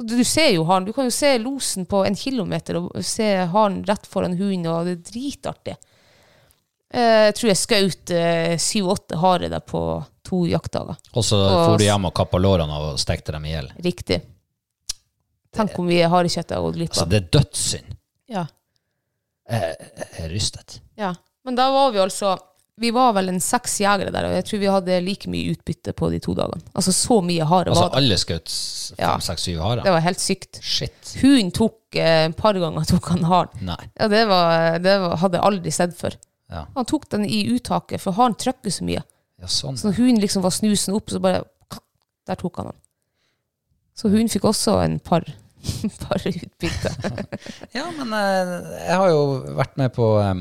[SPEAKER 3] Og Du du ser jo haren. Du kan jo se losen på en kilometer og se haren rett foran hunden, og det er dritartig. Eh, Jeg tror jeg skjøt eh, syv-åtte harer der på to jaktdager.
[SPEAKER 2] Og så
[SPEAKER 3] Og-
[SPEAKER 2] for du hjem og kappa lårene av og stekte dem i hjel.
[SPEAKER 3] Riktig. Tenk hvor mye harekjøtt jeg har gått glipp
[SPEAKER 2] Altså,
[SPEAKER 3] av.
[SPEAKER 2] det er dødssynd.
[SPEAKER 3] Ja.
[SPEAKER 2] Jeg er rystet.
[SPEAKER 3] ja. Men da var vi altså vi var vel en seks jegere der, og jeg tror vi hadde like mye utbytte på de to dagene. Altså så mye hare
[SPEAKER 2] Altså
[SPEAKER 3] var det.
[SPEAKER 2] alle skjøt s-
[SPEAKER 3] Ja.
[SPEAKER 2] fem, seks, syv harer?
[SPEAKER 3] Det var helt sykt.
[SPEAKER 2] Shit.
[SPEAKER 3] Hunden tok eh, et par ganger tok han haren.
[SPEAKER 2] Nei.
[SPEAKER 3] Ja, det, var, det var, hadde jeg aldri sett før.
[SPEAKER 2] Ja.
[SPEAKER 3] Han tok den i uttaket, for haren trøkker så mye.
[SPEAKER 2] Ja, sånn.
[SPEAKER 3] Så når hunden liksom var snusen opp, så bare Der tok han den. Så hunden fikk også en par, par utbytte.
[SPEAKER 2] Ja, men eh, jeg har jo vært med på eh,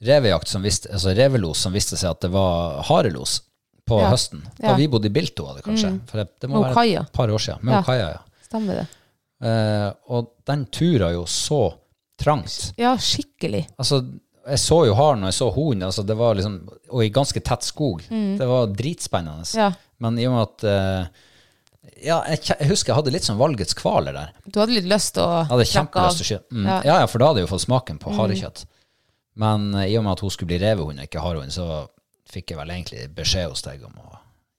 [SPEAKER 2] revejakt, som visste, altså revelos, som viste seg at det var harelos på
[SPEAKER 3] Ja.
[SPEAKER 2] høsten. Da
[SPEAKER 3] Ja. Mm.
[SPEAKER 2] vi bodde i Bilto, var det kanskje. For det, det må
[SPEAKER 3] Med
[SPEAKER 2] være
[SPEAKER 3] Okaia.
[SPEAKER 2] et par år siden. Med
[SPEAKER 3] Ja.
[SPEAKER 2] Okaia, ja.
[SPEAKER 3] Stemmer det?
[SPEAKER 2] Eh, og den tura jo så trangt.
[SPEAKER 3] Ja, skikkelig.
[SPEAKER 2] Altså, jeg så jo haren, og jeg så hunden, altså det var liksom, og i ganske tett skog. Det var dritspennende.
[SPEAKER 3] Mm. Ja.
[SPEAKER 2] Men i og med at eh, Ja, jeg, kje- jeg husker jeg hadde litt sånn valgets kvaler der.
[SPEAKER 3] Du hadde litt lyst til å
[SPEAKER 2] Jeg hadde
[SPEAKER 3] trekke av. Mm.
[SPEAKER 2] kjempelyst til å skyte. Mm. Ja. ja, for da hadde jeg jo fått smaken på harekjøtt. Men eh, i og med at hun skulle bli revehund og ikke harehund, så fikk jeg vel egentlig beskjed hos deg om å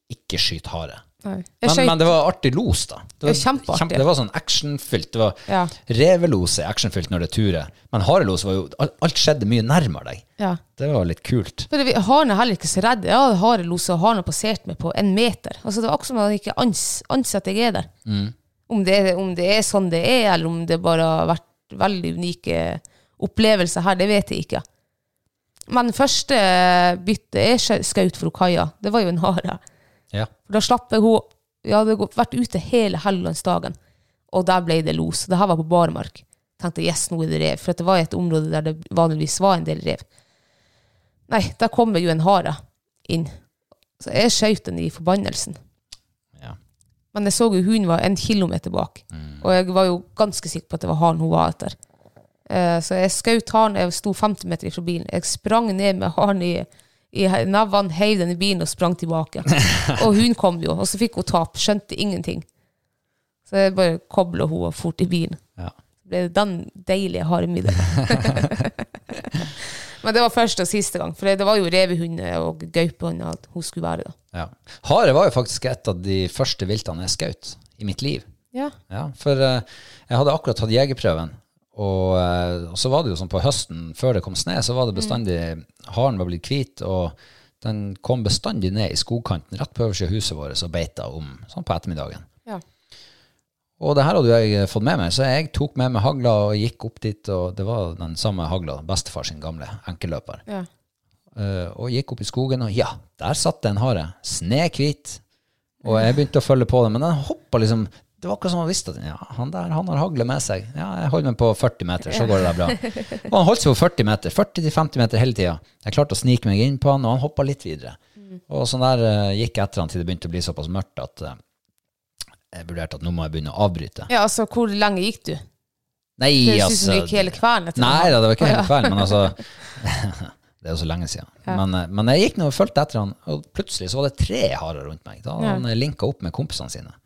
[SPEAKER 2] ikke skyte hare.
[SPEAKER 3] Nei. Jeg
[SPEAKER 2] Men,
[SPEAKER 3] skjøt-
[SPEAKER 2] men det var artig los, da. Det var,
[SPEAKER 3] Det var kjempeartig.
[SPEAKER 2] kjempe- det var sånn actionfylt. Det var
[SPEAKER 3] Ja.
[SPEAKER 2] Revelos er actionfylt når det turer, men harelos var jo al- Alt skjedde mye nærmere deg.
[SPEAKER 3] ja.
[SPEAKER 2] Det var litt kult.
[SPEAKER 3] For vi- Haren er heller ikke så redd. Ja, harelos og haren har passert meg på en meter. Altså, det var akkurat som om han ikke ans, anser at jeg er der. Om, det, er- om det er sånn det er, eller om det bare har vært veldig unike opplevelser her, det vet jeg ikke. Men første bytte jeg skjø- skjøt for Okaia, det var jo en hare.
[SPEAKER 2] Ja.
[SPEAKER 3] For da slapp jeg henne Vi hadde gått- vært ute hele Helgelandsdagen, og der ble det los. Det her var på barmark. Tenkte yes, nå er det rev. For at det var et område der det vanligvis var en del rev. Nei, der kom det jo en hare inn. Så jeg skjøt den i forbannelsen.
[SPEAKER 2] Ja.
[SPEAKER 3] Men jeg så jo hunden var en kilometer bak, og jeg var jo ganske sikker på at det var haren hun var etter. Eh, Så jeg skjøt haren, jeg sto 50 meter ifra bilen. Jeg sprang ned med haren i, i nevene, heiv den i bilen og sprang tilbake. Og hun kom jo, og så fikk hun tap. Skjønte ingenting. Så jeg bare kobla henne fort i bilen.
[SPEAKER 2] Ja.
[SPEAKER 3] Så ble det den deilige haremiddagen. Men det var første og siste gang, for det var jo revehunder og gaupehunder at hun skulle være. da.
[SPEAKER 2] Ja. Hare var jo faktisk et av de første viltene jeg skjøt i mitt liv.
[SPEAKER 3] Ja.
[SPEAKER 2] Ja, for eh, jeg hadde akkurat tatt jegerprøven, og, eh, og så var det jo sånn på høsten, før det kom snø, så var det bestandig Haren var blitt hvit, og den kom bestandig ned i skogkanten, rett på øverste huset vårt, og beita om sånn på ettermiddagen.
[SPEAKER 3] Ja.
[SPEAKER 2] Og det her hadde jo jeg eh, fått med meg, så jeg tok med meg hagla og gikk opp dit, og det var den samme hagla, bestefar sin gamle enkeløper.
[SPEAKER 3] Ja.
[SPEAKER 2] Eh, og gikk opp i skogen, og ja, der satt det en hare. Snehvit. Og jeg begynte å følge på den, men den hoppa liksom Det var akkurat som han visste at ja, han der han har hagle med seg. Ja, jeg holder meg på 40 meter, så går det der bra. Og han holdt seg på 40 meter, 40-50 meter hele tida. Jeg klarte å snike meg inn på han, og han hoppa litt videre. Og sånn der eh, gikk jeg etter han til det begynte å bli såpass mørkt at eh, jeg vurderte at nå må jeg begynne å avbryte.
[SPEAKER 3] ja, altså, hvor lenge gikk du?
[SPEAKER 2] Nei,
[SPEAKER 3] Det
[SPEAKER 2] altså
[SPEAKER 3] synes du gikk hele kvelden etter
[SPEAKER 2] Nei
[SPEAKER 3] den.
[SPEAKER 2] da, det var ikke hele
[SPEAKER 3] Å, ja.
[SPEAKER 2] kvelden, men altså Det er jo så lenge siden. Men, eh, men jeg gikk nå og fulgte etter han, og plutselig så var det tre harer rundt meg. Da hadde
[SPEAKER 3] Ja.
[SPEAKER 2] han linka opp med kompisene sine.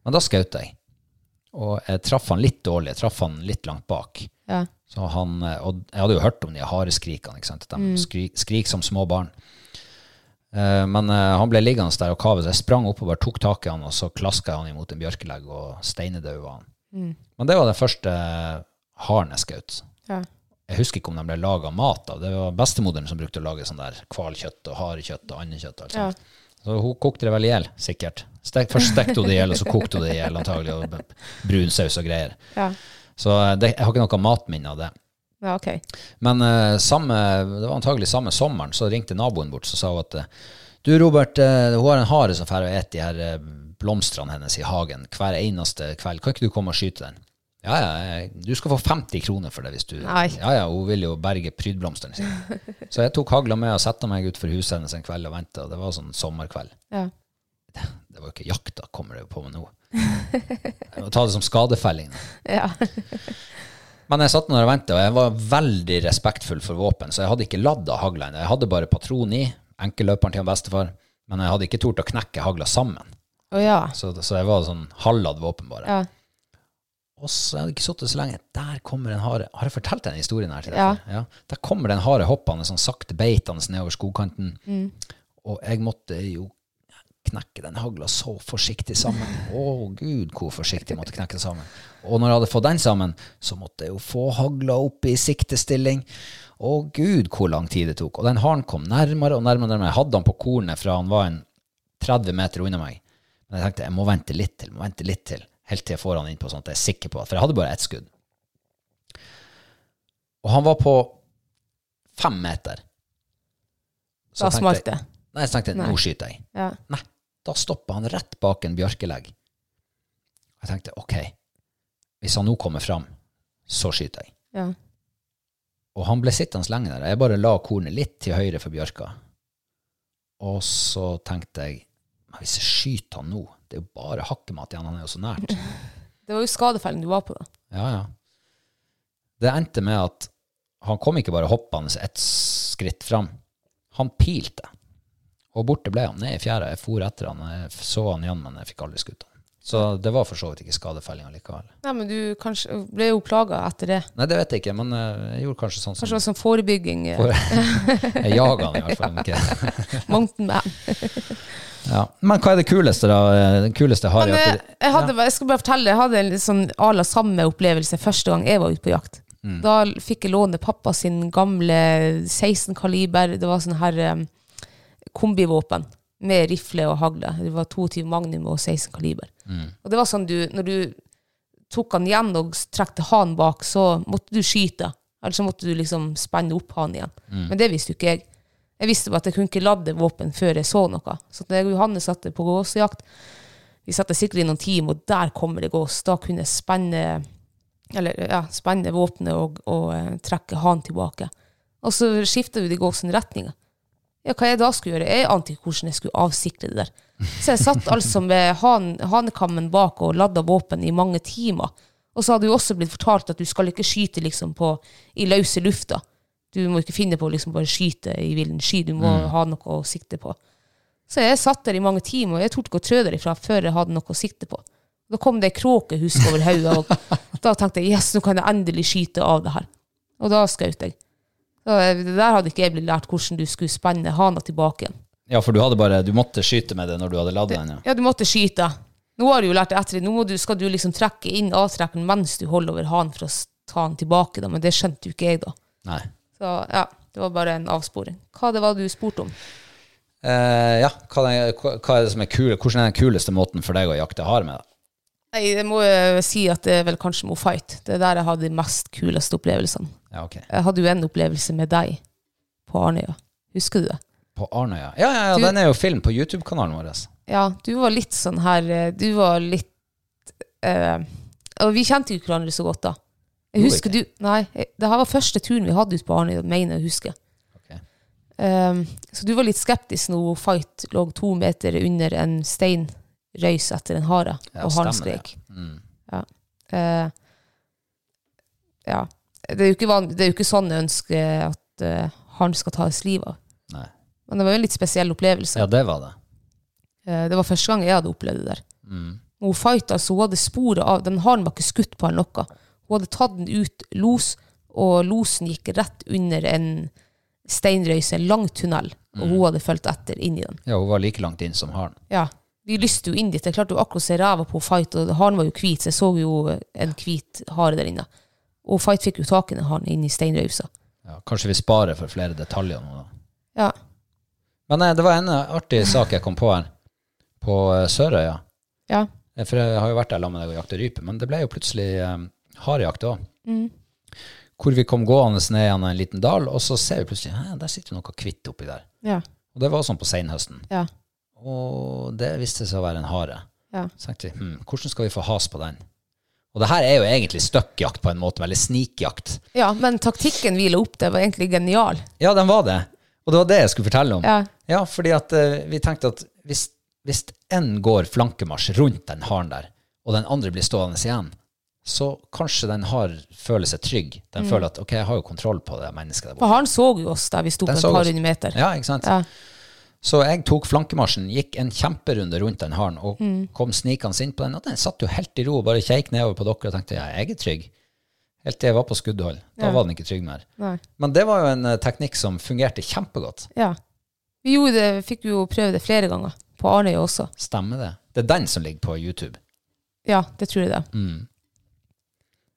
[SPEAKER 2] Men da skjøt jeg. Og jeg traff han litt dårlig. Jeg traff han litt langt bak.
[SPEAKER 3] Ja.
[SPEAKER 2] Så han, eh, og jeg hadde jo hørt om de hareskrikene. ikke sant? At
[SPEAKER 3] Mm.
[SPEAKER 2] De skri, skrik som små barn. Eh, Men eh, han ble liggende der og kave, så jeg sprang oppover, tok tak i han, og så klaska jeg han imot en bjørkelegg og steinedaua han.
[SPEAKER 3] Mm.
[SPEAKER 2] Men det var den første eh, haren jeg skjøt.
[SPEAKER 3] Ja.
[SPEAKER 2] Jeg husker ikke om de ble laga mat av. Det var bestemoderen som brukte å lage sånn der hvalkjøtt og harekjøtt og andekjøtt. og alt sånt. Så hun kokte det vel i hjel, sikkert. Stek, først stekte hun det i hjel, og så kokte hun det i hjel, antagelig, og b- brun saus og greier.
[SPEAKER 3] Ja.
[SPEAKER 2] Så eh, det, jeg har ikke noe matminne av det.
[SPEAKER 3] ja, ok.
[SPEAKER 2] Men eh, samme, det var antagelig samme sommeren, så ringte naboen bort så sa hun at eh, du Robert, eh, hun har en hare som drar og spiser de her eh, blomstene hennes i hagen hver eneste kveld. Kan ikke du komme og skyte den? Ja, ja, jeg- du skal få 50 kroner for det hvis du
[SPEAKER 3] Nei.
[SPEAKER 2] Ja, ja, hun vil jo berge prydblomstene sine. Så jeg tok hagla med og satte meg utfor huset hennes en kveld og venta. Det var sånn sommerkveld.
[SPEAKER 3] Ja.
[SPEAKER 2] Det var jo ikke jakta, kommer det jo på med nå. Jeg må ta det som skadefelling. da.
[SPEAKER 3] Ja.
[SPEAKER 2] Men jeg satt nå og ventet, og jeg var veldig respektfull for våpen, så jeg hadde ikke ladda hagla ennå. Jeg hadde bare patron i, enkelløperen til han bestefar, men jeg hadde ikke tort å knekke hagla sammen.
[SPEAKER 3] Å ja.
[SPEAKER 2] Så, så jeg var sånn halvladd våpen, bare.
[SPEAKER 3] Ja.
[SPEAKER 2] Og så jeg hadde ikke sittet så lenge. Der kommer en hare. Har jeg fortalt den historien her til deg?
[SPEAKER 3] Ja.
[SPEAKER 2] før? Ja. Der kommer det en hare hoppende, sånn sakte beitende nedover skogkanten. Og jeg måtte jo knekke den hagla så forsiktig sammen. Å gud, hvor forsiktig jeg måtte knekke den sammen. Og når jeg hadde fått den sammen, så måtte jeg jo få hagla opp i siktestilling. Å gud, hvor lang tid det tok. Og den haren kom nærmere og nærmere. og nærmere. Jeg hadde han på kornet fra han var en 30 meter unna meg. Men jeg tenkte jeg må vente litt til, må vente litt til, helt til jeg får han innpå sånn at jeg er sikker på at For jeg hadde bare ett skudd. Og han var på fem meter. Så
[SPEAKER 3] Da
[SPEAKER 2] tenkte
[SPEAKER 3] smalt
[SPEAKER 2] jeg-
[SPEAKER 3] det.
[SPEAKER 2] Nei, så tenkte jeg,
[SPEAKER 3] Nei.
[SPEAKER 2] nå skyter jeg.
[SPEAKER 3] Ja.
[SPEAKER 2] Nei, da stopper han rett bak en bjørkelegg. Jeg tenkte, ok, hvis han nå kommer fram, så skyter jeg.
[SPEAKER 3] ja.
[SPEAKER 2] Og han ble sittende lenge der. Jeg bare la kornet litt til høyre for bjørka. Og så tenkte jeg, men hvis jeg skyter han nå, det er jo bare hakkemat igjen, han er jo så nært.
[SPEAKER 3] Det var jo skadefellen du var på, da.
[SPEAKER 2] Ja, ja. Det endte med at han kom ikke bare hoppende ett skritt fram. Han pilte. Og borte ble han, ned i fjæra. Jeg for etter han, jeg så han igjen, men jeg fikk aldri skutt han. Så det var for så vidt ikke skadefelling allikevel.
[SPEAKER 3] Nei, men du kanskje, ble jo plaga etter det.
[SPEAKER 2] Nei, det vet jeg ikke, men eh, jeg gjorde kanskje sånn som
[SPEAKER 3] Kanskje det var sånn forebygging. eh,
[SPEAKER 2] Jeg jaga han i hvert fall. ikke.
[SPEAKER 3] Mountain man.
[SPEAKER 2] Ja. Men hva er det kuleste, da? Den kuleste har
[SPEAKER 3] Men
[SPEAKER 2] jeg
[SPEAKER 3] eh,
[SPEAKER 2] at det-
[SPEAKER 3] jeg, hadde, jeg skal bare fortelle, jeg hadde en litt sånn à la samme opplevelse første gang jeg var ute på jakt. Da l- fikk jeg låne pappa sin gamle 16 kaliber, det var sånn her eh, kombivåpen med rifle og hagle. Det var 22 magnum og 16 kaliber. Og det var sånn du, når du tok han igjen og s- trekte han bak, så måtte du skyte. Eller så måtte du liksom spenne opp han igjen. Men det visste jo ikke jeg. Jeg visste bare at jeg kunne ikke lade våpen før jeg så noe. Så da jeg og Johanne satte på gåsejakt, vi satt der sikkert i noen timer, og der kommer det gås. Da kunne jeg spenne, eller, ja, spenne våpenet og, og eh, trekke han tilbake. Og så skifta vi de gåsene retninger. Ja, hva jeg da skulle gjøre? Jeg ante ikke hvordan jeg skulle avsikre det der. Så jeg satt altså med han, hanekammen bak og ladda våpen i mange timer. Og så hadde du også blitt fortalt at du skal ikke skyte liksom på, i løse lufta. Du må ikke finne på å liksom bare skyte i villen sky, du må ha noe å sikte på. Så jeg satt der i mange timer, og jeg torde ikke å trø derifra før jeg hadde noe å sikte på. Da kom det ei kråke husk over hodet, og da tenkte jeg yes, nå kan jeg endelig skyte av det her. Og da skjøt jeg. Så eh, det der hadde ikke jeg blitt lært hvordan du skulle spenne hana tilbake igjen.
[SPEAKER 2] Ja, for du hadde bare Du måtte skyte med det når du hadde ladd den, ja.
[SPEAKER 3] Ja, du måtte skyte. Nå har du jo lært det etter det. Nå må du, skal du liksom trekke inn avtrekkeren mens du holder over hanen for å s- ta den tilbake, da. men det skjønte jo ikke jeg da.
[SPEAKER 2] Nei.
[SPEAKER 3] Så ja, det var bare en avsporing. Hva det var du spurte om?
[SPEAKER 2] Eh, ja, hva, er- hva er det som er kul, hvordan er den kuleste måten for deg å jakte hare med? da?
[SPEAKER 3] Nei, det må jeg si at det er vel kanskje med fight. Det er der jeg hadde de mest kuleste opplevelsene.
[SPEAKER 2] Ja, ok.
[SPEAKER 3] Jeg hadde jo en opplevelse med deg på Arnøya. Husker du det?
[SPEAKER 2] På Arnøya. Ja, ja, ja
[SPEAKER 3] Du-
[SPEAKER 2] den er jo film på YouTube-kanalen vår. altså.
[SPEAKER 3] Ja, du var litt sånn her eh, Du var litt eh, Og vi kjente jo ikke hverandre så godt da. Jeg
[SPEAKER 2] Gjorde
[SPEAKER 3] husker du
[SPEAKER 2] ikke?
[SPEAKER 3] Nei, eh, det her var første turen vi hadde ute på Arnøya, mener jeg å huske.
[SPEAKER 2] Ok.
[SPEAKER 3] Eh, så du var litt skeptisk når Fight lå to meter under en steinrøys etter en hare,
[SPEAKER 2] Ja,
[SPEAKER 3] og han
[SPEAKER 2] stemmer det.
[SPEAKER 3] skrek.
[SPEAKER 2] Mm.
[SPEAKER 3] Eh, ja. Det er jo ikke, van det er jo ikke sånn jeg ønsker at eh, han skal tas livet av.
[SPEAKER 2] Nei.
[SPEAKER 3] Men det var jo en litt spesiell opplevelse.
[SPEAKER 2] Ja, det var det.
[SPEAKER 3] Eh, det var første gang jeg hadde opplevd det der.
[SPEAKER 2] Mm.
[SPEAKER 3] Hun fighta, så hun hadde sporet av Den haren var ikke skutt på eller noe. Hun hadde tatt den ut los, og losen gikk rett under en steinrøys, en lang tunnel, og
[SPEAKER 2] Mm.
[SPEAKER 3] hun hadde fulgt etter inn i den.
[SPEAKER 2] Ja, hun var like langt inn som haren.
[SPEAKER 3] Ja. Vi lyste jo inn dit. Jeg klarte jo akkurat å se ræva på Fight, og haren var jo hvit, så jeg så jo en hvit hare der inne. Og Fight fikk jo tak i den haren inne i steinrausa.
[SPEAKER 2] Ja, kanskje vi sparer for flere detaljer nå, da.
[SPEAKER 3] Ja.
[SPEAKER 2] Men eh, det var en eh, artig sak jeg kom på her, på eh, Sørøya.
[SPEAKER 3] Ja.
[SPEAKER 2] Eh, For jeg har jo vært der sammen med deg og jakta rype, men det ble jo plutselig eh, harejakt òg. Hvor vi kom gående ned gjennom en liten dal, og så ser vi plutselig Hæ, der sitter noe hvitt oppi der.
[SPEAKER 3] Ja.
[SPEAKER 2] Og det var sånn på senhøsten.
[SPEAKER 3] Ja.
[SPEAKER 2] Og det viste seg å være en hare.
[SPEAKER 3] Ja.
[SPEAKER 2] Så tenkte vi, hm, hvordan skal vi få has på den? Og det her er jo egentlig støkkjakt på en måte, eller snikjakt.
[SPEAKER 3] ja, men taktikken vi la opp der, var egentlig genial.
[SPEAKER 2] Ja, den var det. Og det var det jeg skulle fortelle om.
[SPEAKER 3] Ja.
[SPEAKER 2] fordi at eh, vi tenkte at hvis, hvis en går flankemarsj rundt den haren der, og den andre blir stående igjen, så kanskje den har føler seg trygg. Den
[SPEAKER 3] Mm.
[SPEAKER 2] føler at ok, jeg har jo kontroll på det mennesket der
[SPEAKER 3] For
[SPEAKER 2] borte.
[SPEAKER 3] han så jo oss der vi sto på
[SPEAKER 2] Den
[SPEAKER 3] et
[SPEAKER 2] så
[SPEAKER 3] par
[SPEAKER 2] oss.
[SPEAKER 3] hundre meter.
[SPEAKER 2] Ja, ikke sant?
[SPEAKER 3] Ja.
[SPEAKER 2] Så jeg tok flankemarsjen, gikk en kjemperunde rundt den haren og
[SPEAKER 3] Mm.
[SPEAKER 2] kom snikende inn på den. Og den satt jo helt i ro og bare kjeik nedover på dere og tenkte ja, jeg er trygg. Helt til jeg var på skuddhold. Da
[SPEAKER 3] Ja.
[SPEAKER 2] var den ikke trygg mer.
[SPEAKER 3] Nei.
[SPEAKER 2] Men det var jo en eh, teknikk som fungerte kjempegodt.
[SPEAKER 3] Ja. Vi gjorde det, fikk jo prøve det flere ganger. på Arnøy også.
[SPEAKER 2] Stemmer det? Det er den som ligger på YouTube. Mm.
[SPEAKER 3] Ja, det tror jeg det.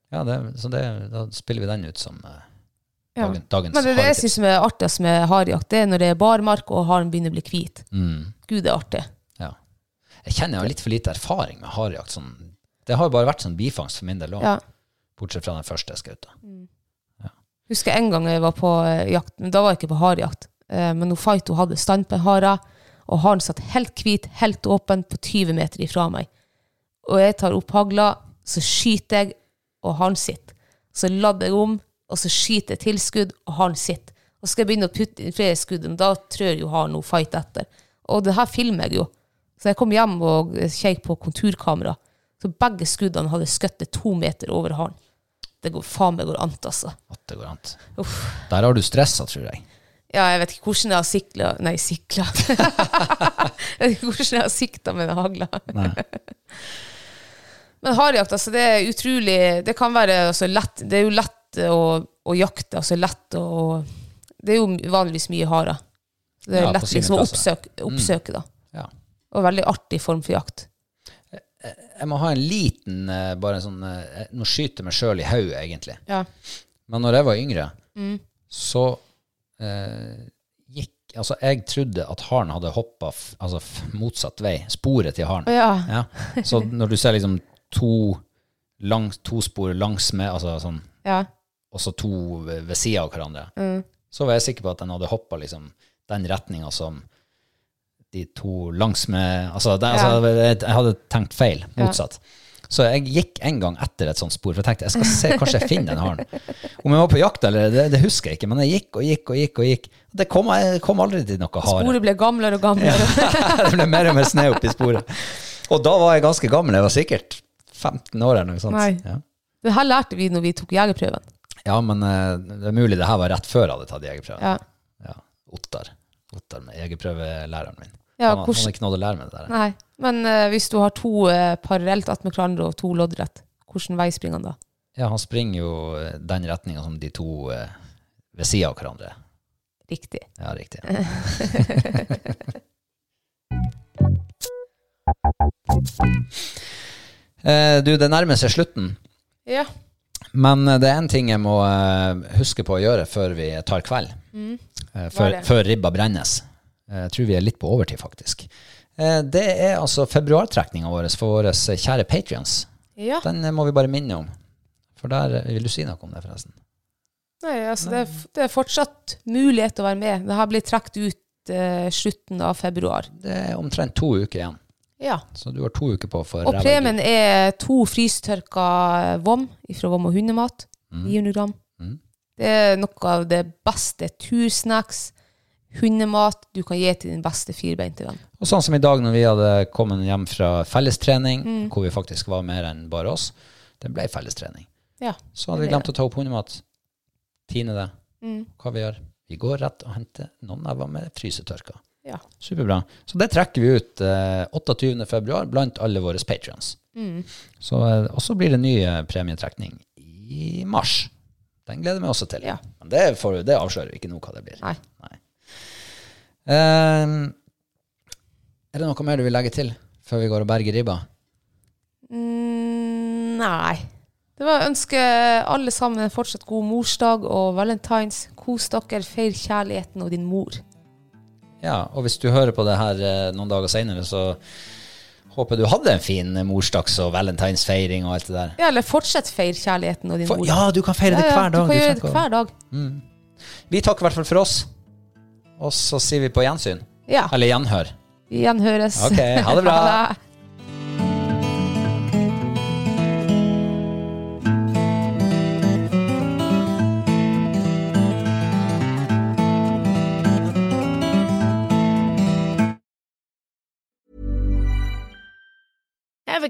[SPEAKER 2] Ja, det, så det, da spiller vi den ut som eh,
[SPEAKER 3] Ja.
[SPEAKER 2] dagen, dagens
[SPEAKER 3] Men det er det jeg
[SPEAKER 2] hardtips.
[SPEAKER 3] syns er artigst med harejakt, det er når det er barmark og haren begynner å bli hvit.
[SPEAKER 2] Mm,
[SPEAKER 3] Gud, det er artig.
[SPEAKER 2] ja. Jeg kjenner jeg har litt for lite erfaring med harejakt. Sånn, det har jo bare vært sånn bifangst for min del òg,
[SPEAKER 3] Ja.
[SPEAKER 2] bortsett fra den første jeg skjøt.
[SPEAKER 3] Husker jeg en gang jeg var på eh, jakt, men da var jeg ikke på harejakt. Eh, Men hun Faito hadde stand på en hare, og haren satt helt hvit, helt åpen, på 20 meter ifra meg. Og jeg tar opp hagla, så skyter jeg, og haren sitter. Så lader jeg om, og så skyter jeg tilskudd, og haren sitter. Og så skal jeg begynne å putte inn flere skudd, men da trør jo haren hun Faito etter. Og det her filmer jeg jo. Så jeg kom hjem og kjekk på konturkamera, så begge skuddene hadde skøttet to meter over haren. Det går faen meg går an, altså.
[SPEAKER 2] At det går an.
[SPEAKER 3] Uff.
[SPEAKER 2] Der har du stressa, tror jeg.
[SPEAKER 3] Ja, jeg vet ikke hvordan jeg har sikla Nei, sikla. jeg vet ikke hvordan jeg har sikta med den hagla.
[SPEAKER 2] Nei.
[SPEAKER 3] Men harejakt, altså, det er utrolig Det kan være altså, lett Det er jo lett å, å jakte, altså lett å Det er jo vanligvis mye harer. Så Det er
[SPEAKER 2] Ja, på altså. Mm.
[SPEAKER 3] lett
[SPEAKER 2] sine
[SPEAKER 3] liksom å
[SPEAKER 2] plasser.
[SPEAKER 3] oppsøke, oppsøke da.
[SPEAKER 2] Ja.
[SPEAKER 3] Og veldig artig form for jakt.
[SPEAKER 2] Jeg må ha en liten eh, bare en sånn eh, Nå skyter jeg meg sjøl i hodet, egentlig.
[SPEAKER 3] Ja.
[SPEAKER 2] Men når jeg var yngre, så eh, gikk Altså, jeg trodde at haren hadde hoppa altså, f- motsatt vei. Sporet til haren.
[SPEAKER 3] Å ja.
[SPEAKER 2] Ja. Så når du ser liksom to, langs, to spor langs med, altså sånn,
[SPEAKER 3] ja.
[SPEAKER 2] og så to ved ved siden av hverandre, så var jeg sikker på at den hadde hoppet liksom den retningen som de to langs med, altså, det, altså jeg, jeg hadde tenkt feil, motsatt. Så jeg gikk en gang etter et sånt spor, for jeg tenkte, jeg skal se, kanskje jeg finner den haren. Om jeg var på jakt, eller det, det husker jeg ikke, men jeg gikk og gikk og gikk og gikk. Det kom, jeg kom aldri til noe hare.
[SPEAKER 3] Sporet ble gamlere og gamlere.
[SPEAKER 2] det ble mer og mer snø oppi sporet. Og da var jeg ganske gammel, jeg var sikkert 15 år eller noe sånt.
[SPEAKER 3] Nei.
[SPEAKER 2] Ja.
[SPEAKER 3] Det her lærte vi når vi tok jegerprøven.
[SPEAKER 2] ja, men eh, det er mulig det her var rett før jeg hadde tatt jegerprøven.
[SPEAKER 3] Ja.
[SPEAKER 2] Ja. Ottar. Ottar med jegerprøvelæreren min.
[SPEAKER 3] Ja,
[SPEAKER 2] han, han
[SPEAKER 3] hvordan-
[SPEAKER 2] har ikke nådd å lære meg det der.
[SPEAKER 3] Nei, men eh, hvis du har to eh, parallelt attmed hverandre og to loddrett, hvordan vei springer han da?
[SPEAKER 2] Ja, han springer jo eh, den retninga som de to eh, ved sida av hverandre.
[SPEAKER 3] Riktig.
[SPEAKER 2] Ja, riktig. Eh, du, det nærmer seg slutten.
[SPEAKER 3] Ja.
[SPEAKER 2] Men eh, det er en ting jeg må eh, huske på å gjøre før vi tar kveld. Eh, før,
[SPEAKER 3] Mm. det?
[SPEAKER 2] før ribba brennes. Eh, Jeg tror vi er litt på overtid, faktisk. Eh, Det er altså februartrekninga vår for våre eh, kjære patrions.
[SPEAKER 3] ja.
[SPEAKER 2] Den eh, må vi bare minne om. For der eh, Vil du si noe om det, forresten?
[SPEAKER 3] Nei, altså, det, er, f- det er fortsatt mulighet til å være med. Det her blir trukket ut eh, slutten av februar.
[SPEAKER 2] Det er omtrent to uker igjen.
[SPEAKER 3] Ja.
[SPEAKER 2] Så du har to uker på for
[SPEAKER 3] Og
[SPEAKER 2] ræva i
[SPEAKER 3] premien er to frystørka vom fra Vom og Hundemat. 900 gram.
[SPEAKER 2] Mm.
[SPEAKER 3] Det er noe av det beste tursnacks, hundemat du kan gi til din beste firbeinte venn.
[SPEAKER 2] Og sånn som i dag når vi hadde kommet hjem fra fellestrening,
[SPEAKER 3] Mm.
[SPEAKER 2] hvor vi faktisk var mer enn bare oss, det ble fellestrening.
[SPEAKER 3] Ja.
[SPEAKER 2] Så hadde vi glemt å ta opp hundemat. Tine det.
[SPEAKER 3] Mm.
[SPEAKER 2] Hva vi gjør? Vi går rett og henter noen av dem med frysetørka.
[SPEAKER 3] Ja.
[SPEAKER 2] Superbra. Så det trekker vi ut eh, 28. februar blant alle våre patrions.
[SPEAKER 3] Mm.
[SPEAKER 2] Så, eh, og så blir det ny eh, premietrekning i mars. Den gleder vi også til.
[SPEAKER 3] Ja.
[SPEAKER 2] Men det, får, det avslører vi ikke nå hva det blir.
[SPEAKER 3] Nei.
[SPEAKER 2] Eh, er det noe mer du vil legge til før vi går og berger ribba?
[SPEAKER 3] Mm, nei. Det var å ønske alle sammen en fortsatt god morsdag og valentines. Kos dere, feir kjærligheten og din mor.
[SPEAKER 2] Ja, og hvis du hører på det her eh, noen dager senere, så håper jeg du hadde en fin eh, morsdags- og valentinsfeiring og alt det der.
[SPEAKER 3] Ja, eller fortsett feir kjærligheten og din
[SPEAKER 2] For,
[SPEAKER 3] mor.
[SPEAKER 2] ja, du kan feire det
[SPEAKER 3] Ja, ja,
[SPEAKER 2] hver dag.
[SPEAKER 3] Du kan gjøre
[SPEAKER 2] trenger
[SPEAKER 3] det
[SPEAKER 2] ikke å-
[SPEAKER 3] hver dag.
[SPEAKER 2] Vi takker i hvert fall for oss. Og så sier vi på gjensyn.
[SPEAKER 3] Ja.
[SPEAKER 2] Eller gjenhør.
[SPEAKER 3] Vi gjenhøres.
[SPEAKER 2] Ok, ha det bra.
[SPEAKER 3] det.
[SPEAKER 4] Ever